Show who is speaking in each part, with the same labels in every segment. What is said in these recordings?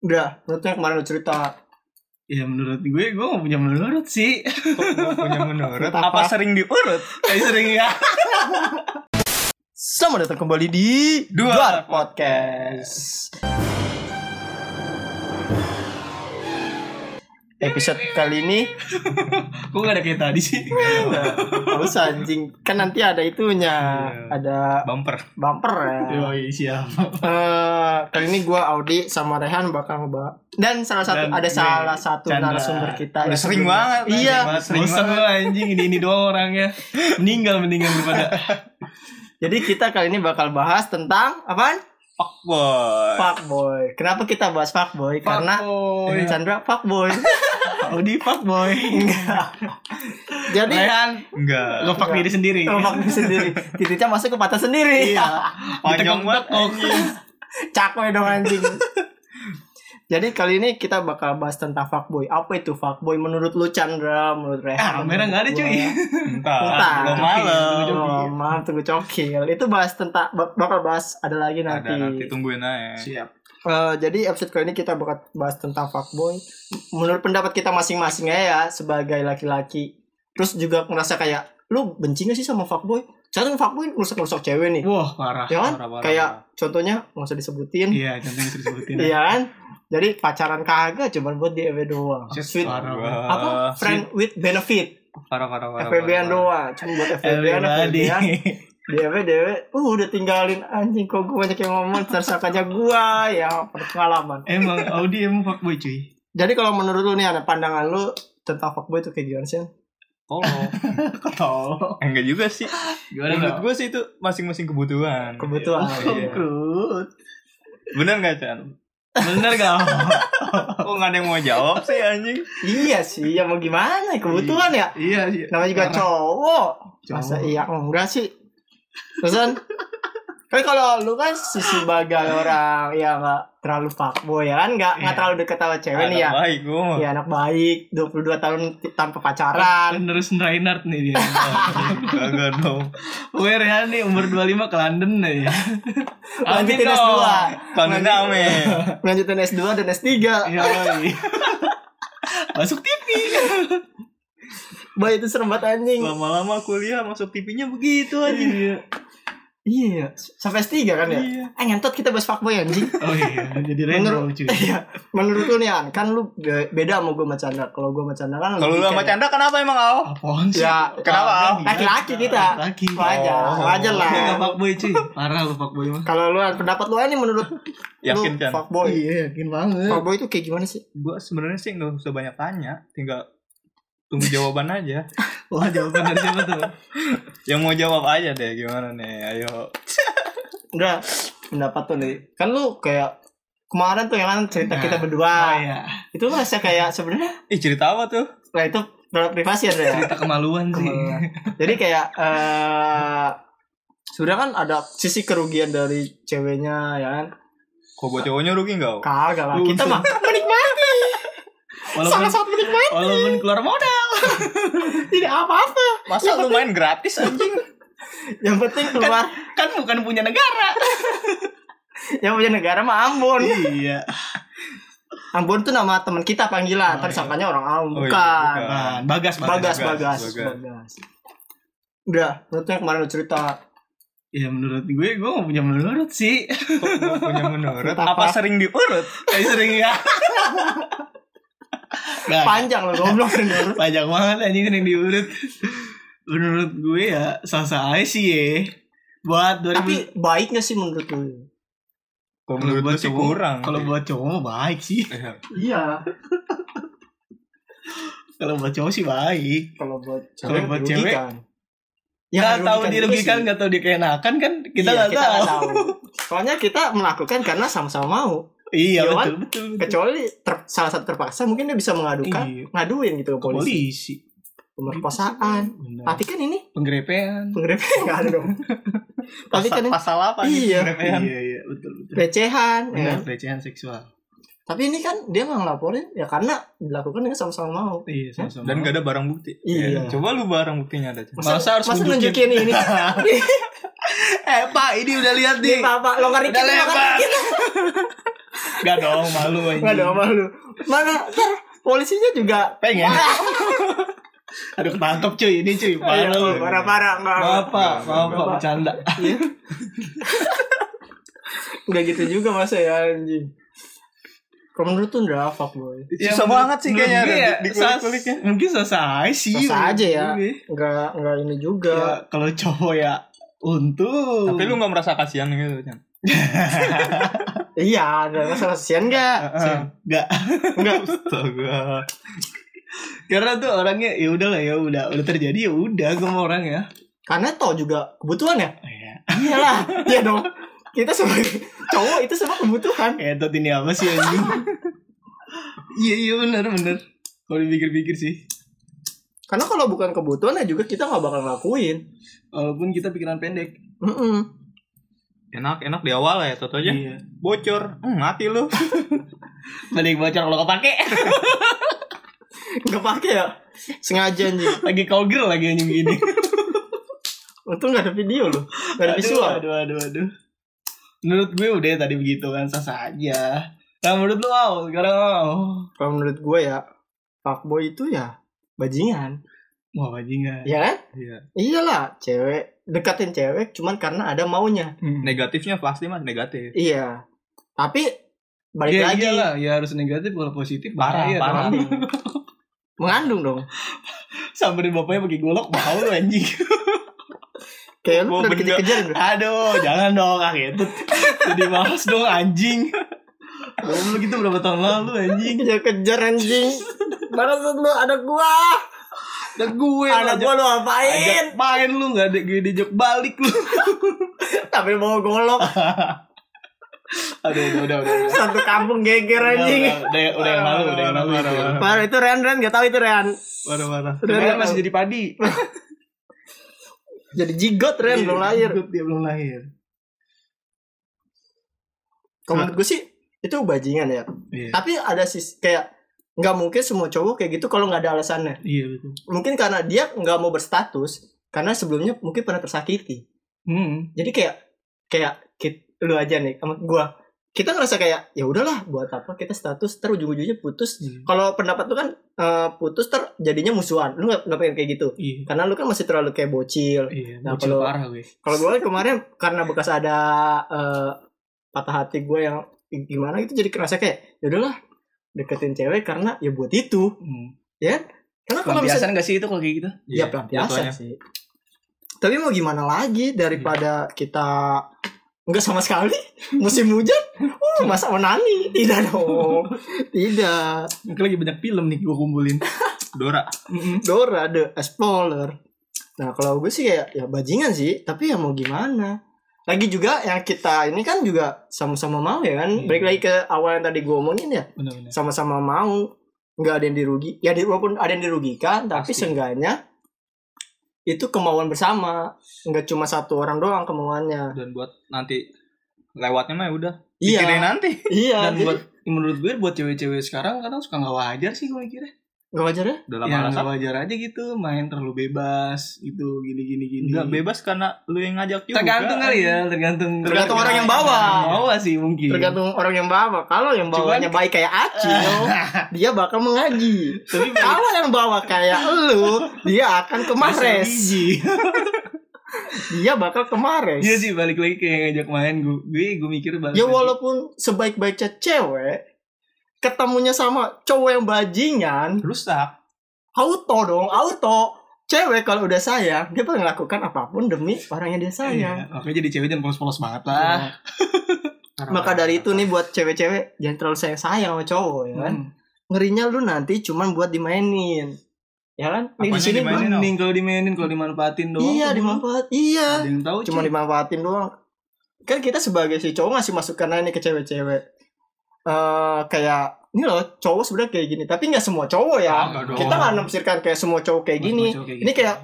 Speaker 1: Udah, menurut yang kemarin lu cerita
Speaker 2: Ya menurut gue, gue gak punya menurut sih
Speaker 1: Gak punya menurut
Speaker 2: Apa,
Speaker 1: apa?
Speaker 2: sering diurut? Kayak sering ya
Speaker 1: Sama datang kembali di
Speaker 2: Dua
Speaker 1: Duar Podcast Episode kali ini
Speaker 2: Kok gak ada kayak tadi sih?
Speaker 1: Harus anjing Kan nanti ada itunya
Speaker 2: Iya.
Speaker 1: Ada
Speaker 3: bumper
Speaker 1: bumper ya
Speaker 2: Yoi siapa?
Speaker 1: Eh, Kali ini gua Audi sama Rehan bakal ngebahas Dan salah satu
Speaker 2: Dan
Speaker 1: Ada
Speaker 2: gue,
Speaker 1: salah satu
Speaker 2: Chandra.
Speaker 1: narasumber kita
Speaker 3: udah
Speaker 1: yang
Speaker 3: sering
Speaker 1: sebelumnya-
Speaker 3: banget
Speaker 1: Iya.
Speaker 3: anjing banget, sering
Speaker 2: Bosan
Speaker 3: banget
Speaker 2: lu anjing, ini, ini doang orangnya Meninggal, meninggal daripada
Speaker 1: Jadi kita kali ini bakal bahas tentang Apaan?
Speaker 3: boy
Speaker 1: Fuckboy. Kenapa kita bahas fuckboy? Karena
Speaker 2: Fuckboy.
Speaker 1: Iya. Chandra fuckboy.
Speaker 2: Audi fuckboy
Speaker 1: Jadi
Speaker 2: Rehan,
Speaker 3: enggak
Speaker 2: lo fuck diri sendiri
Speaker 1: Oh, fuck boy sendiri. Titiknya masuk ke patah sendiri. Iya.
Speaker 3: panjang banget
Speaker 1: Cakwe dong anjing. Jadi kali ini kita bakal bahas tentang fuckboy. Apa itu fuckboy menurut lu Chandra, menurut
Speaker 2: Ah,
Speaker 1: Rehan?
Speaker 2: kamera nggak ada, cuy.
Speaker 3: entah
Speaker 1: Entah.
Speaker 3: belum
Speaker 2: Belum
Speaker 3: malam
Speaker 1: Oh, maaf tunggu cokil. Itu bahas tentang bak- bakal bahas ada lagi nanti.
Speaker 3: ada nanti tungguin aja
Speaker 2: Siap.
Speaker 1: Eh, jadi episode kali ini kita bakal bahas tentang fuckboy. Menurut pendapat kita masing-masing aja ya sebagai laki-laki. Terus juga ngerasa kayak lu benci gak sih sama fuckboy? Soalnya fuckboy ngerusak-ngerusak cewek nih.
Speaker 2: Wah, parah.
Speaker 1: ya kan?
Speaker 3: parah, parah,
Speaker 1: kayak
Speaker 3: parah.
Speaker 1: contohnya nggak usah disebutin.
Speaker 2: Iya, contohnya sering sebutin.
Speaker 1: Iya kan? Jadi pacaran kagak cuman buat di FB doang.
Speaker 2: Just
Speaker 1: Sweet-
Speaker 2: parah.
Speaker 3: Wah,
Speaker 1: apa? Friend with benefit.
Speaker 3: parah parah parah
Speaker 1: FBN
Speaker 3: parah.
Speaker 1: doang. ya. Cuma buat FBN,
Speaker 2: Everybody.
Speaker 1: FBN. Dewe dewe, uh udah tinggalin anjing kok gue banyak yang ngomong tersangkanya gua ya pengalaman.
Speaker 2: Emang Audi emang fuckboy cuy.
Speaker 1: Jadi kalau menurut lu nih ada pandangan lu tentang fuckboy itu kayak gimana sih?
Speaker 3: tolong
Speaker 2: Tolong.
Speaker 3: enggak Eh, juga sih
Speaker 2: Gimana Oh,
Speaker 3: menurut
Speaker 2: dong?
Speaker 3: gue sih itu masing-masing kebutuhan
Speaker 1: Kebutuhan.
Speaker 3: Iya.
Speaker 2: Kruut.
Speaker 3: bener nggak Chan
Speaker 2: Bener gak?
Speaker 3: kok nggak ada yang mau jawab sih anjing
Speaker 1: iya sih, ya mau gimana? Kebutuhan ya.
Speaker 2: iya sih.
Speaker 1: Namanya juga
Speaker 2: Parah.
Speaker 1: cowok. Masa
Speaker 2: Cowok.
Speaker 1: iya enggak sih? Terusan Kan kalau lu kan si- sebagai orang ya enggak terlalu fuckboy ya kan enggak enggak
Speaker 2: Iya.
Speaker 1: terlalu deket sama cewek nih ya.
Speaker 3: anak baik gue mah
Speaker 1: Ya anak baik, 22 tahun t- tanpa pacaran.
Speaker 2: Nerusin Reinhardt nih dia.
Speaker 3: kagak dong
Speaker 2: Gue Rehan nih umur 25 ke London nih. Amin
Speaker 1: Lanjutin
Speaker 2: dong.
Speaker 1: S2.
Speaker 3: kan name
Speaker 1: Lanjutin S2 dan S3.
Speaker 2: Iya. woy. Masuk TV.
Speaker 1: Boy itu serem banget anjing.
Speaker 3: lama-lama kuliah masuk TV-nya begitu anjing
Speaker 2: Iya.
Speaker 1: Iya, sampai S3 kan ya?
Speaker 3: Iya.
Speaker 1: Ah ngentot kita bahas fuckboy anjing.
Speaker 2: Oh iya, jadi Rainbow
Speaker 1: Menurut-
Speaker 2: cuy.
Speaker 3: gitu.
Speaker 1: Iya, menurut lu nih An, kan lu be- beda sama gue sama Chandra. Kalau gue sama Chandra kan
Speaker 3: kalau lu
Speaker 1: lebih
Speaker 3: sama
Speaker 1: kayak-
Speaker 3: Chandra kenapa emang Al?
Speaker 2: Apaan sih? Oh,
Speaker 1: Ya,
Speaker 3: Kenapa, Al?
Speaker 2: Gila,
Speaker 1: Laki-laki kita.
Speaker 2: Laki.
Speaker 1: Wajar, wajar lah.
Speaker 2: Lu gak fuckboy cuy. Parah lu fuckboy mah.
Speaker 1: Kalau lu An, pendapat lu ini menurut
Speaker 3: Yakin
Speaker 1: lu
Speaker 3: Chan?
Speaker 1: fuckboy.
Speaker 2: Iya, yakin banget.
Speaker 1: Fuckboy itu kayak gimana sih?
Speaker 3: Gue sebenarnya sih nggak usah banyak tanya, tinggal tunggu jawaban aja.
Speaker 2: Wah, jawaban dari siapa tuh?
Speaker 3: Yang mau jawab aja deh gimana nih? Ayo.
Speaker 1: Udah, pendapat lu nih. Kan lu kayak kemarin tuh yang kan cerita
Speaker 2: Nah.
Speaker 1: kita berdua.
Speaker 2: Ah, iya.
Speaker 1: Itu rasa kayak sebenarnya
Speaker 3: Ih cerita apa tuh?
Speaker 1: lah itu terhadap privasi ya. Dre, ya?
Speaker 2: Cerita iya. kemaluan sih.
Speaker 1: Kemaluan. Jadi kayak eh sebenarnya kan ada sisi kerugian dari ceweknya ya kan.
Speaker 3: Kok buat cowoknya rugi nggak?
Speaker 1: Kagak lah. Kita mah menikmati.
Speaker 2: Walaupun
Speaker 1: Sangat-sangat menikmati.
Speaker 2: walaupun keluar modal.
Speaker 1: Tidak apa-apa.
Speaker 3: Masa lu main gratis anjing?
Speaker 1: Yang penting keluar.
Speaker 2: Kan bukan punya negara.
Speaker 1: yang punya negara mah Ambon.
Speaker 2: iya.
Speaker 1: Ambon tuh nama teman kita panggilan.
Speaker 2: Oh,
Speaker 1: Tapi
Speaker 2: iya.
Speaker 1: sangkanya orang Ambon.
Speaker 3: Oh, iya,
Speaker 1: bukan.
Speaker 3: bukan.
Speaker 2: Nah, bagas
Speaker 1: Bagas,
Speaker 2: bagas.
Speaker 1: bagas,
Speaker 3: Bagas,
Speaker 1: bagas. Udah, menurut lu yang kemarin lu cerita
Speaker 2: Ya menurut gue, gue gak punya menurut sih.
Speaker 3: Kok nggak punya menurut?
Speaker 1: Apa?
Speaker 3: Apa, sering diurut?
Speaker 2: Kayak sering ya. Nah,
Speaker 1: panjang lu goblok menurut.
Speaker 2: panjang banget anjing yang diurut. Menurut gue ya sah-sah aja sih ya. Buat 2000
Speaker 1: Tapi baik gak sih menurut lu?
Speaker 3: Kok
Speaker 2: kalau
Speaker 3: menurut
Speaker 2: buat
Speaker 3: lu sih
Speaker 2: cowok-
Speaker 3: kurang?
Speaker 2: Kalau buat cowok mah baik sih.
Speaker 3: Iya.
Speaker 1: Iya,
Speaker 2: Kalau buat cowok sih baik.
Speaker 1: kalau buat
Speaker 2: Kalau
Speaker 1: cewek
Speaker 2: buat
Speaker 1: dirugikan.
Speaker 2: cewek,
Speaker 1: Ya,
Speaker 2: nggak tahu
Speaker 1: juga
Speaker 2: dirugikan,
Speaker 1: sih.
Speaker 2: nggak tahu dikenakan kan kita
Speaker 1: Iya,
Speaker 2: nggak tahu.
Speaker 1: nggak Soalnya kita melakukan karena sama-sama mau. Iya
Speaker 2: Iya
Speaker 1: kan?
Speaker 2: betul betul. betul.
Speaker 1: Kecuali ter- salah satu terpaksa mungkin dia bisa mengadukan,
Speaker 2: Iya.
Speaker 1: ngaduin gitu ke polisi.
Speaker 2: Polisi. Ah,
Speaker 1: Pemerkosaan.
Speaker 2: Benar.
Speaker 1: Tapi kan ini
Speaker 2: Penggerepean.
Speaker 1: penggerebekan nggak ada dong. Tapi kan ini
Speaker 3: pasal apa
Speaker 1: Iya.
Speaker 2: ya? Iya
Speaker 3: Iya.
Speaker 2: iya betul betul.
Speaker 1: pelecehan. ya
Speaker 2: Benar
Speaker 1: kan?
Speaker 2: pelecehan seksual.
Speaker 1: Tapi ini kan dia nggak ngelaporin ya karena dilakukan dengan sama-sama mau.
Speaker 2: Iya sama-sama.
Speaker 3: Dan gak ada barang bukti.
Speaker 1: Iya.
Speaker 3: Ya, Coba lu barang buktinya ada. Chan.
Speaker 2: Masa harus
Speaker 1: masa
Speaker 2: nunjukin?
Speaker 1: nunjukin ini?
Speaker 2: eh Pak ini udah lihat
Speaker 1: Di
Speaker 2: nih.
Speaker 3: Iya,
Speaker 1: papa longgar dikit,
Speaker 2: Udah
Speaker 1: longgar
Speaker 2: lebar.
Speaker 1: dikit.
Speaker 2: Gak dong, malu anjing.
Speaker 1: Nggak ada sama lu. Mana ntar polisinya juga
Speaker 2: Pengen. Aduh ketangkep cuy, ini cuy. Parah lu.
Speaker 1: Ayo, Iya, parah-parah enggak.
Speaker 2: Maaf pak, maaf pak,
Speaker 1: Bapak.
Speaker 2: bercanda.
Speaker 1: Iya. Nggak gitu juga masa ya anjing. Kalau menurut tuh nggak fuckboy.
Speaker 2: Ya,
Speaker 3: Iya, Susah banget sih
Speaker 2: menurut
Speaker 3: kayaknya
Speaker 2: gue ya,
Speaker 3: di, kulit-kulitnya.
Speaker 2: sas- Mungkin selesai sih.
Speaker 1: Sasa
Speaker 2: menurut
Speaker 1: aja ya.
Speaker 2: gue.
Speaker 1: Nggak nggak ini juga.
Speaker 2: Ya, kalau cowok ya untung.
Speaker 3: Tapi lu gak merasa kasihan gitu, Chan?
Speaker 1: Iya, ada masalah sian enggak?
Speaker 2: Enggak.
Speaker 1: Enggak.
Speaker 3: Astaga.
Speaker 2: Gitu, Karena tuh orangnya ya udah lah ya udah udah terjadi ya udah gue mau orang ya.
Speaker 1: Karena tau juga kebutuhan ya. Iyalah, iya dong. Kita sebagai cowok itu semua kebutuhan.
Speaker 2: Eh tot ini apa sih anjing? Iya iya benar benar. Kalau dipikir-pikir sih.
Speaker 1: Karena kalau bukan kebutuhan ya juga kita nggak bakal ngelakuin.
Speaker 2: Walaupun kita pikiran pendek.
Speaker 1: Mm-mm.
Speaker 3: Enak, enak di awal ya, toto aja.
Speaker 2: Iya.
Speaker 3: Bocor. Hmm, mati lu.
Speaker 2: Balik bocor kalau kepake.
Speaker 1: Nggak pakai ya? Sengaja anjing.
Speaker 2: Lagi cowgirl lagi anjing gini.
Speaker 1: Untung nggak ada video loh. Nggak ada
Speaker 2: Aduh,
Speaker 1: visual.
Speaker 2: Aduh aduh aduh. Menurut gue udah tadi begitu kan sah saja. Nah menurut lu wow, sekarang wow.
Speaker 1: Kalau menurut gue ya, fuckboy itu ya bajingan.
Speaker 2: Wah bajingan.
Speaker 1: Ya kan?
Speaker 3: Iya.
Speaker 1: Iyalah, cewek deketin cewek cuman karena ada maunya.
Speaker 3: Negatifnya pasti mas, negatif.
Speaker 1: Iya. Tapi balik
Speaker 2: Ya,
Speaker 1: lagi
Speaker 2: iyalah, ya harus negatif kalau positif
Speaker 3: Parah,
Speaker 2: bahaya,
Speaker 3: parah.
Speaker 2: tapi-
Speaker 1: mengandung. mengandung dong.
Speaker 2: Samperin bapaknya pakai golok bau lu anjing.
Speaker 1: Kayak lu
Speaker 3: Gua
Speaker 1: udah
Speaker 3: benda.
Speaker 1: dikejar-kejar gitu.
Speaker 2: Aduh, jangan dong ah itu. Jadi bahas dong anjing. Belum gitu berapa tahun lalu anjing.
Speaker 1: Kejar-kejar anjing. Bangsat lu ada gua.
Speaker 2: Dan gue
Speaker 1: Ada gua lu apain?
Speaker 2: Ajak main lu nggak ada gue diajak balik lu.
Speaker 1: Tapi mau golok
Speaker 2: Aduh, udah udah udah. udah.
Speaker 1: satu kampung geger
Speaker 2: Udah,
Speaker 1: anjing.
Speaker 2: udah, udah, udah yang malu, udah yang malu.
Speaker 3: Parah, parah,
Speaker 1: Parah itu Ren Ren gak tahu itu Ren.
Speaker 3: Parah-parah.
Speaker 2: Kemarin masih jadi padi. Iya,
Speaker 1: Jadi jigot Ren belum lahir.
Speaker 2: Dia belum lahir.
Speaker 1: Kalau menurut gue sih itu bajingan ya.
Speaker 2: Iya.
Speaker 1: Tapi ada sis kayak nggak mungkin semua cowok kayak gitu kalau nggak ada alasannya.
Speaker 2: Iya betul.
Speaker 1: Mungkin karena dia nggak mau berstatus karena sebelumnya mungkin pernah tersakiti.
Speaker 2: Hmm.
Speaker 1: Jadi kayak kayak kit, lu aja nih sama gua. Kita ngerasa kayak ya udahlah buat apa kita status ter ujung-ujungnya putus.
Speaker 2: Iya.
Speaker 1: Kalau pendapat lu kan eh, putus ter jadinya musuhan. Lu nggak nggak pengen kayak gitu.
Speaker 2: Iya.
Speaker 1: Karena lu kan masih terlalu kayak bocil.
Speaker 2: Iya,
Speaker 1: Nah,
Speaker 2: bocil
Speaker 1: kalau-
Speaker 2: parah gue.
Speaker 1: Kalau gue kemarin karena bekas ada eh, patah hati gue yang gimana itu jadi kerasa kayak ya udahlah deketin cewek karena ya buat itu
Speaker 2: Hmm.
Speaker 1: ya karena kalau misalnya
Speaker 2: Pelampiasan gak sih Iya, itu kalau kayak gitu?
Speaker 1: ya pelampiasan sih tapi mau gimana lagi daripada
Speaker 2: Hmm.
Speaker 1: kita nggak sama sekali musim hujan uh, masa menangi tidak dong tidak
Speaker 2: Mungkin lagi banyak film nih gue kumpulin.
Speaker 3: Dora.
Speaker 1: Dora the Explorer. Nah kalau gue sih kayak ya bajingan sih, tapi ya mau gimana? Lagi juga yang kita ini kan juga sama-sama mau ya kan?
Speaker 2: Iya.
Speaker 1: Balik lagi ke awal yang tadi gue omongin ya,
Speaker 2: Benar-benar.
Speaker 1: sama-sama mau, nggak ada yang dirugi. Ya di- walaupun ada yang dirugikan, tapi
Speaker 3: Pasti.
Speaker 1: seenggaknya itu kemauan bersama, nggak cuma satu orang doang kemauannya.
Speaker 3: Dan buat nanti lewatnya mah ya udah. Pikirin
Speaker 1: Iya,
Speaker 3: nanti.
Speaker 1: iya.
Speaker 2: Dan
Speaker 1: jadi-
Speaker 2: buat menurut gue buat cewek-cewek sekarang kadang suka nggak wajar sih gue kira.
Speaker 1: nggak wajar ya?
Speaker 3: Dalam
Speaker 2: Ya
Speaker 3: alasan
Speaker 2: nggak wajar aja gitu, main terlalu bebas gitu, gini gini gini.
Speaker 3: Enggak bebas karena lu yang ngajak juga.
Speaker 2: Tergantung kali ya, tergantung.
Speaker 1: Tergantung orang yang bawa.
Speaker 2: Yang bawa sih mungkin.
Speaker 1: Tergantung orang yang bawa. Kalau yang
Speaker 2: Iya. Cuman- Eh.
Speaker 1: bawanya baik kayak Aci, dia bakal mengaji. Kalau yang bawa kayak lu, dia akan kemares.
Speaker 2: Biji.
Speaker 1: Dia bakal kemares.
Speaker 2: Iya sih balik lagi ke yang ngajak main gue. Gue gue mikir balik.
Speaker 1: Ya
Speaker 2: lagi. Iya,
Speaker 1: walaupun sebaik-baiknya cewek, ketemunya sama cowok yang bajingan,
Speaker 3: Rusak.
Speaker 1: auto dong, auto. Cewek kalau udah sayang, dia bakal melakukan apapun demi orang yang dia sayang.
Speaker 2: Iya, makanya jadi cewek jangan polos-polos banget lah.
Speaker 1: Nah, maka dari itu nih buat cewek-cewek jangan terlalu sayang-sayang sama cowok ya kan.
Speaker 2: Hmm.
Speaker 1: Ngerinya lu nanti cuman buat dimainin. Ya kan? Nih di
Speaker 3: Apanya
Speaker 1: sini
Speaker 3: dimainin? Mainin
Speaker 2: Mending kalau dimainin, kalau dimanfaatin doang.
Speaker 1: Iya,
Speaker 2: tuh,
Speaker 1: dimanfaat. Iya.
Speaker 2: Ada yang tahu
Speaker 1: cuma
Speaker 2: cuy.
Speaker 1: dimanfaatin doang kan kita sebagai si cowok ngasih masukan aja nih ke cewek-cewek Eh kayak ini loh cowok sebenarnya kayak gini tapi nggak semua cowok ya
Speaker 2: Ah, nggak dong.
Speaker 1: kita nggak nafsirkan kayak semua cowok kayak gini
Speaker 2: Cowok kayak
Speaker 1: ini
Speaker 2: gitu.
Speaker 1: kayak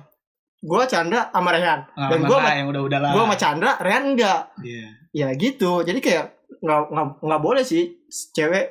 Speaker 1: gue Chandra sama Rehan
Speaker 2: Pengalaman
Speaker 1: dan gue
Speaker 2: lah yang udah-udah lah.
Speaker 1: gue sama Chandra Rehan enggak
Speaker 2: Iya.
Speaker 1: ya gitu jadi kayak nggak nggak nggak boleh sih cewek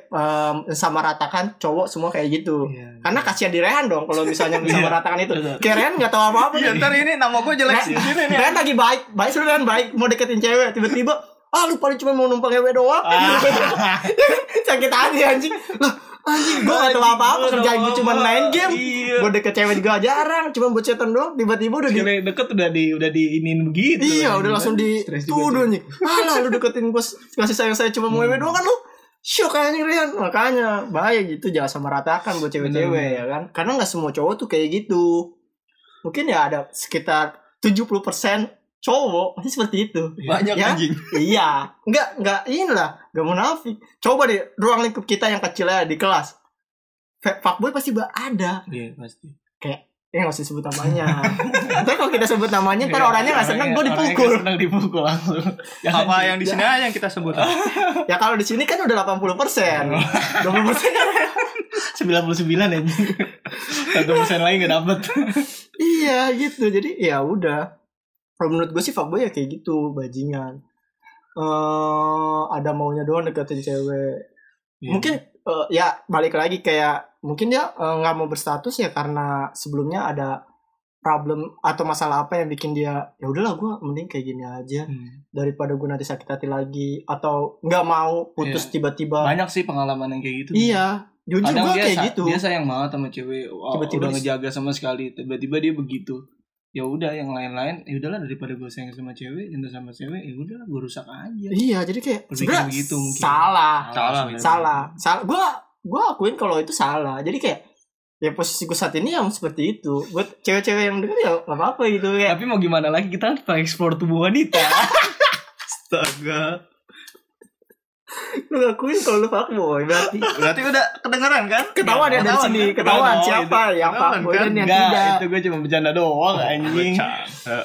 Speaker 1: sama ratakan cowok semua kayak gitu
Speaker 2: Iya.
Speaker 1: karena kasihan di Rehan dong kalau misalnya
Speaker 2: Iya.
Speaker 1: sama ratakan itu
Speaker 2: Betul.
Speaker 1: kayak Rehan nggak tahu apa apa
Speaker 3: Iya, ntar ini nama gue jelek
Speaker 1: Nah,
Speaker 3: di sini nih.
Speaker 1: Ren lagi baik, baik sebenarnya Ren baik mau deketin cewek tiba-tiba ah lu paling cuma mau numpang ewe doang
Speaker 2: Ah.
Speaker 1: sakit hati anjing lah anjing gue gak tau apa-apa kerjaan gue cuma main game
Speaker 2: Iya.
Speaker 1: gue deket cewek juga jarang cuma buat setan doang tiba-tiba udah di
Speaker 2: Cewek deket udah di udah diinin begitu.
Speaker 1: iya udah langsung di
Speaker 2: Stres
Speaker 1: tuh
Speaker 2: juga.
Speaker 1: udah nih alah lu deketin gue ngasih sayang saya cuma mau ewe doang kan lu syok kayaknya Rian makanya bahaya gitu jangan sama ratakan buat cewek-cewek ya kan karena nggak semua cowok tuh kayak gitu mungkin ya ada sekitar 70% cowok pasti seperti itu
Speaker 3: Banyak
Speaker 1: Ya?
Speaker 3: anjing.
Speaker 1: iya nggak nggak inilah nggak munafik coba deh ruang lingkup kita yang kecil aja di kelas Fa- fuckboy pasti ba- ada
Speaker 2: Iya pasti.
Speaker 1: ya nggak usah sebut namanya ntar kalau kita sebut namanya ntar orangnya nggak seneng gue
Speaker 2: Iya, Orangnya- orangnya
Speaker 1: dipukul
Speaker 2: nggak seneng dipukul langsung.
Speaker 3: Apa yang di sini aja yang kita sebut?
Speaker 1: ya kalau di sini kan udah 80 persen
Speaker 2: Oh.
Speaker 1: 20 persen
Speaker 2: sembilan puluh sembilan ya. Satu persen lain nggak dapet.
Speaker 1: iya gitu jadi ya udah kalau menurut gue sih fuckboy ya kayak gitu bajingan eh ada maunya doang deketin cewek
Speaker 2: Iya.
Speaker 1: mungkin eh, ya balik lagi kayak mungkin dia eh, nggak mau berstatus ya karena sebelumnya ada problem atau masalah apa yang bikin dia ya udahlah gue mending kayak gini aja
Speaker 2: Hmm.
Speaker 1: daripada gue nanti sakit hati lagi atau nggak mau putus tiba-tiba
Speaker 2: banyak sih pengalaman yang kayak gitu.
Speaker 1: iya jujur
Speaker 2: Iya. Nah, Kadang
Speaker 1: gue
Speaker 2: dia,
Speaker 1: kayak
Speaker 2: sa-
Speaker 1: gitu
Speaker 2: dia sayang banget sama cewek. Wah,
Speaker 1: Tiba-tiba
Speaker 2: udah
Speaker 1: dia-
Speaker 2: ngejaga sama sekali. Tiba-tiba dia begitu. Ya udah yang lain-lain ya udahlah daripada gue sayang sama cewek, cinta sama cewek, ya udah gue rusak aja.
Speaker 1: iya jadi kayak
Speaker 2: Berpikir
Speaker 1: sebenarnya
Speaker 2: begitu mungkin.
Speaker 1: salah
Speaker 3: Salah,
Speaker 1: Iya.
Speaker 2: sebenarnya.
Speaker 1: salah salah gue gue akuin kalau itu salah jadi kayak ya posisi gue saat ini yang seperti itu buat cewek-cewek yang denger ya nggak apa-apa gitu kayak
Speaker 2: Tapi mau gimana lagi kita harus ekspor tubuh wanita.
Speaker 3: Astaga.
Speaker 1: lu ngakuin kalau lu fuckboy berarti
Speaker 3: Berarti udah kedengeran kan?
Speaker 1: ketahuan ya dari
Speaker 3: Ketahuan,
Speaker 1: sini
Speaker 3: kan?
Speaker 1: ketahuan
Speaker 2: Ketahuan,
Speaker 1: siapa yang
Speaker 3: Ketahuan,
Speaker 1: fuckboy
Speaker 3: kan?
Speaker 1: dan yang Oh,
Speaker 2: Enggak,
Speaker 1: tidak
Speaker 2: itu gue cuma bercanda doang anjing.
Speaker 3: Bercanda.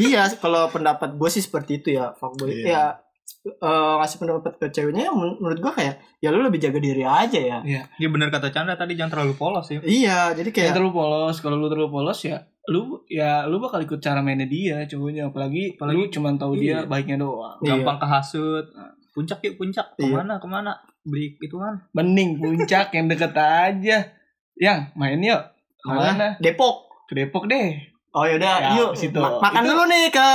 Speaker 1: iya kalau pendapat gue sih seperti itu ya fuckboy
Speaker 3: Iya.
Speaker 1: ya eh, ngasih pendapat ke ceweknya ya men- menurut gue kayak ya lu lebih jaga diri aja ya
Speaker 3: Iya bener kata Chandra tadi jangan terlalu polos ya.
Speaker 1: iya jadi
Speaker 2: Yang
Speaker 1: kayak
Speaker 2: terlalu polos, kalau lu terlalu polos ya lu ya lu bakal ikut cara mainnya dia cowoknya apalagi,
Speaker 3: Apalagi-
Speaker 2: lu cuma tahu dia
Speaker 3: Iya.
Speaker 2: baiknya doang.
Speaker 1: Iya.
Speaker 3: Gampang kehasut. Puncak yuk puncak.
Speaker 1: Iya.
Speaker 3: Kemana kemana? Beli ituan.
Speaker 2: Mending puncak yang deket aja. Yang main yuk. Kemana?
Speaker 1: Depok
Speaker 2: Ke Depok deh.
Speaker 1: oh yaudah
Speaker 2: Ya,
Speaker 1: yuk
Speaker 2: situ.
Speaker 1: ma- makan
Speaker 2: Itu-
Speaker 1: dulu nih ke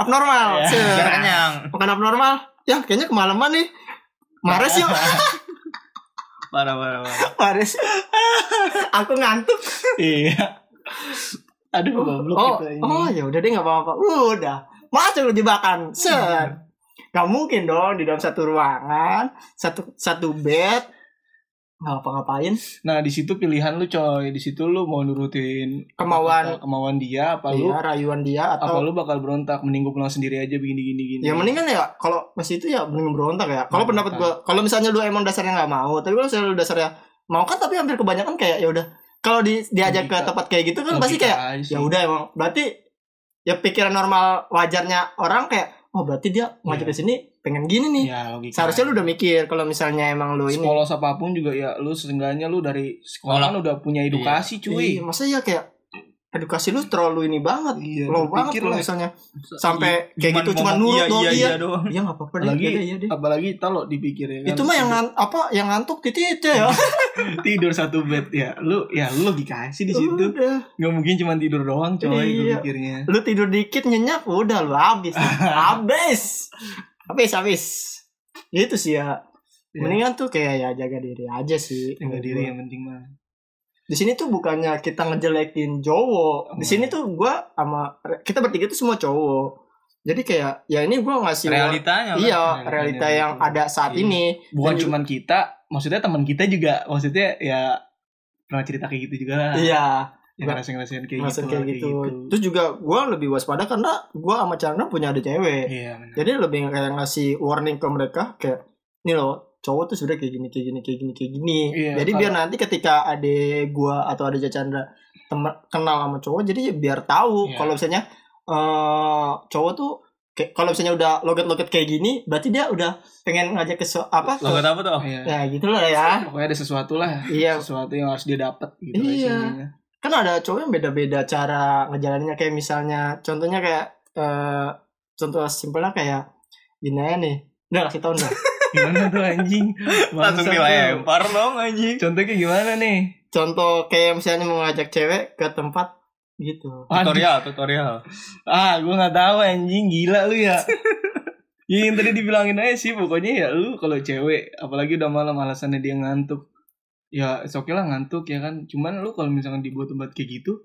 Speaker 1: abnormal
Speaker 2: Iya.
Speaker 1: Set.
Speaker 3: Biar kenyang.
Speaker 1: makan abnormal ya kayaknya kemalaman nih Mares yuk
Speaker 3: Parah parah parah.
Speaker 1: Mares aku ngantuk
Speaker 2: iya. Aduh, goblok
Speaker 1: oh
Speaker 2: kita ini.
Speaker 1: oh ya udah deh nggak apa-apa udah masuk lu jebakan
Speaker 2: Iya.
Speaker 1: set Gak mungkin dong di dalam satu ruangan, satu satu bed, nggak apa-ngapain.
Speaker 2: Nah, di situ pilihan lu coy. Di situ lu mau nurutin
Speaker 1: Kemauan-
Speaker 2: kemauan dia apa lu
Speaker 1: Iya, rayuan dia
Speaker 2: apa
Speaker 1: atau
Speaker 2: lu bakal berontak mending gue pulang sendiri aja begini gini gini.
Speaker 1: ya mendingan ya kalau masih itu ya mending berontak ya.
Speaker 2: Iya,
Speaker 1: Kalau pendapat gua, kalau misalnya lu emang dasarnya nggak mau, tapi kalau misalnya lu dasarnya mau kan tapi hampir kebanyakan kayak ya udah kalau di, diajak ke
Speaker 2: Logika.
Speaker 1: tempat kayak gitu kan pasti
Speaker 2: Logika
Speaker 1: kayak
Speaker 2: aja sih.
Speaker 1: ya udah emang berarti ya pikiran normal wajarnya orang kayak oh berarti dia ngajak ke sini pengen gini nih.
Speaker 2: Ya, Iya. logika.
Speaker 1: Seharusnya lu udah mikir kalau misalnya emang lu ini
Speaker 2: sekolah apapun juga ya lu seenggaknya lu dari sekolah kan udah punya edukasi cuy.
Speaker 1: Iya, masa ya kayak edukasi lu terlalu ini banget.
Speaker 2: Iya,
Speaker 1: Low
Speaker 2: berpikir
Speaker 1: banget kalau
Speaker 2: lah.
Speaker 1: misalnya sampai kayak gitu cuma nurut
Speaker 3: ngomong iya,
Speaker 1: doang
Speaker 3: iya,
Speaker 1: iya.
Speaker 3: iya, doang.
Speaker 1: Iya nggak apa-apa deh.
Speaker 2: Apalagi-
Speaker 1: Iya deh, iya deh.
Speaker 2: apalagi kalau dipikir ya kan.
Speaker 1: Itu mah yang ngan- apa yang ngantuk gitu itu ya.
Speaker 2: tidur satu bed ya lu ya lu logika sih di situ
Speaker 1: Udah.
Speaker 2: nggak mungkin cuma tidur doang coy gue
Speaker 1: Uh-huh. Iya.
Speaker 2: pikirnya
Speaker 1: Lu tidur dikit nyenyak udah lu habis. habis. Habis habis. Itu sih ya.
Speaker 2: Iya.
Speaker 1: Mendingan tuh kayak ya jaga diri aja sih.
Speaker 2: Jaga
Speaker 1: menurut
Speaker 2: Ya, diri
Speaker 1: gua.
Speaker 2: yang penting mah
Speaker 1: Di sini tuh bukannya kita ngejelekin cowok. Di
Speaker 2: Enggak.
Speaker 1: sini tuh gua sama kita bertiga tuh semua cowok. Jadi kayak ya ini gua ngasih
Speaker 3: Realitanya kan?
Speaker 1: Iya,
Speaker 2: Realitanya
Speaker 1: realita
Speaker 2: gitu.
Speaker 1: yang ada saat
Speaker 2: Iya.
Speaker 1: ini.
Speaker 2: bukan
Speaker 1: Dan
Speaker 2: cuman kita maksudnya teman kita juga maksudnya ya pernah cerita kayak gitu juga
Speaker 1: Iya,
Speaker 2: lah yang
Speaker 1: Nggak-
Speaker 2: ngerasain ngerasain kayak
Speaker 1: maksud
Speaker 2: gitu
Speaker 1: kayak
Speaker 2: lah,
Speaker 1: gitu. Terus juga gue lebih waspada karena gue sama Chandra punya ada cewek.
Speaker 2: iya benar
Speaker 1: Jadi lebih kayak ngasih warning ke mereka kayak, nih loh, cowok tuh sudah kayak gini, kayak gini, kayak gini, kayak gini.
Speaker 2: Iya,
Speaker 1: jadi biar nanti ketika ada gue atau ada Chandra temen- kenal sama cowok, jadi biar tahu
Speaker 2: Iya.
Speaker 1: kalau misalnya eh cowok tuh kayak- kalau misalnya udah logat-logat kayak gini, berarti dia udah pengen ngajak ke so- apa?
Speaker 3: Lo
Speaker 1: Ke,
Speaker 3: kata apa tuh?
Speaker 2: iya.
Speaker 1: ya gitulah ya.
Speaker 2: pokoknya ada sesuatu lah
Speaker 1: Iya,
Speaker 2: sesuatu yang harus dia dapat gitu lah
Speaker 1: Iya.
Speaker 2: isinya.
Speaker 1: kan ada cowok yang beda-beda cara ngejalaninnya kayak misalnya contohnya kayak eh contoh simpelnya kayak gini aja nih udah kasih tau dah
Speaker 2: gimana tuh anjing
Speaker 3: Langsung
Speaker 2: Bangsat lu.
Speaker 3: dilempar dong anjing.
Speaker 2: Contohnya gimana nih?
Speaker 1: contoh kayak misalnya mau ngajak cewek ke tempat gitu
Speaker 2: Aduh,
Speaker 3: Tutorial, tutorial.
Speaker 2: Ah, gue nggak tahu anjing gila lu ya. Ya, yang tadi dibilangin aja sih pokoknya ya lu kalau cewek apalagi udah malam alasannya dia ngantuk ya it's okay lah ngantuk ya kan cuman lu kalau misalkan dibuat tempat kayak gitu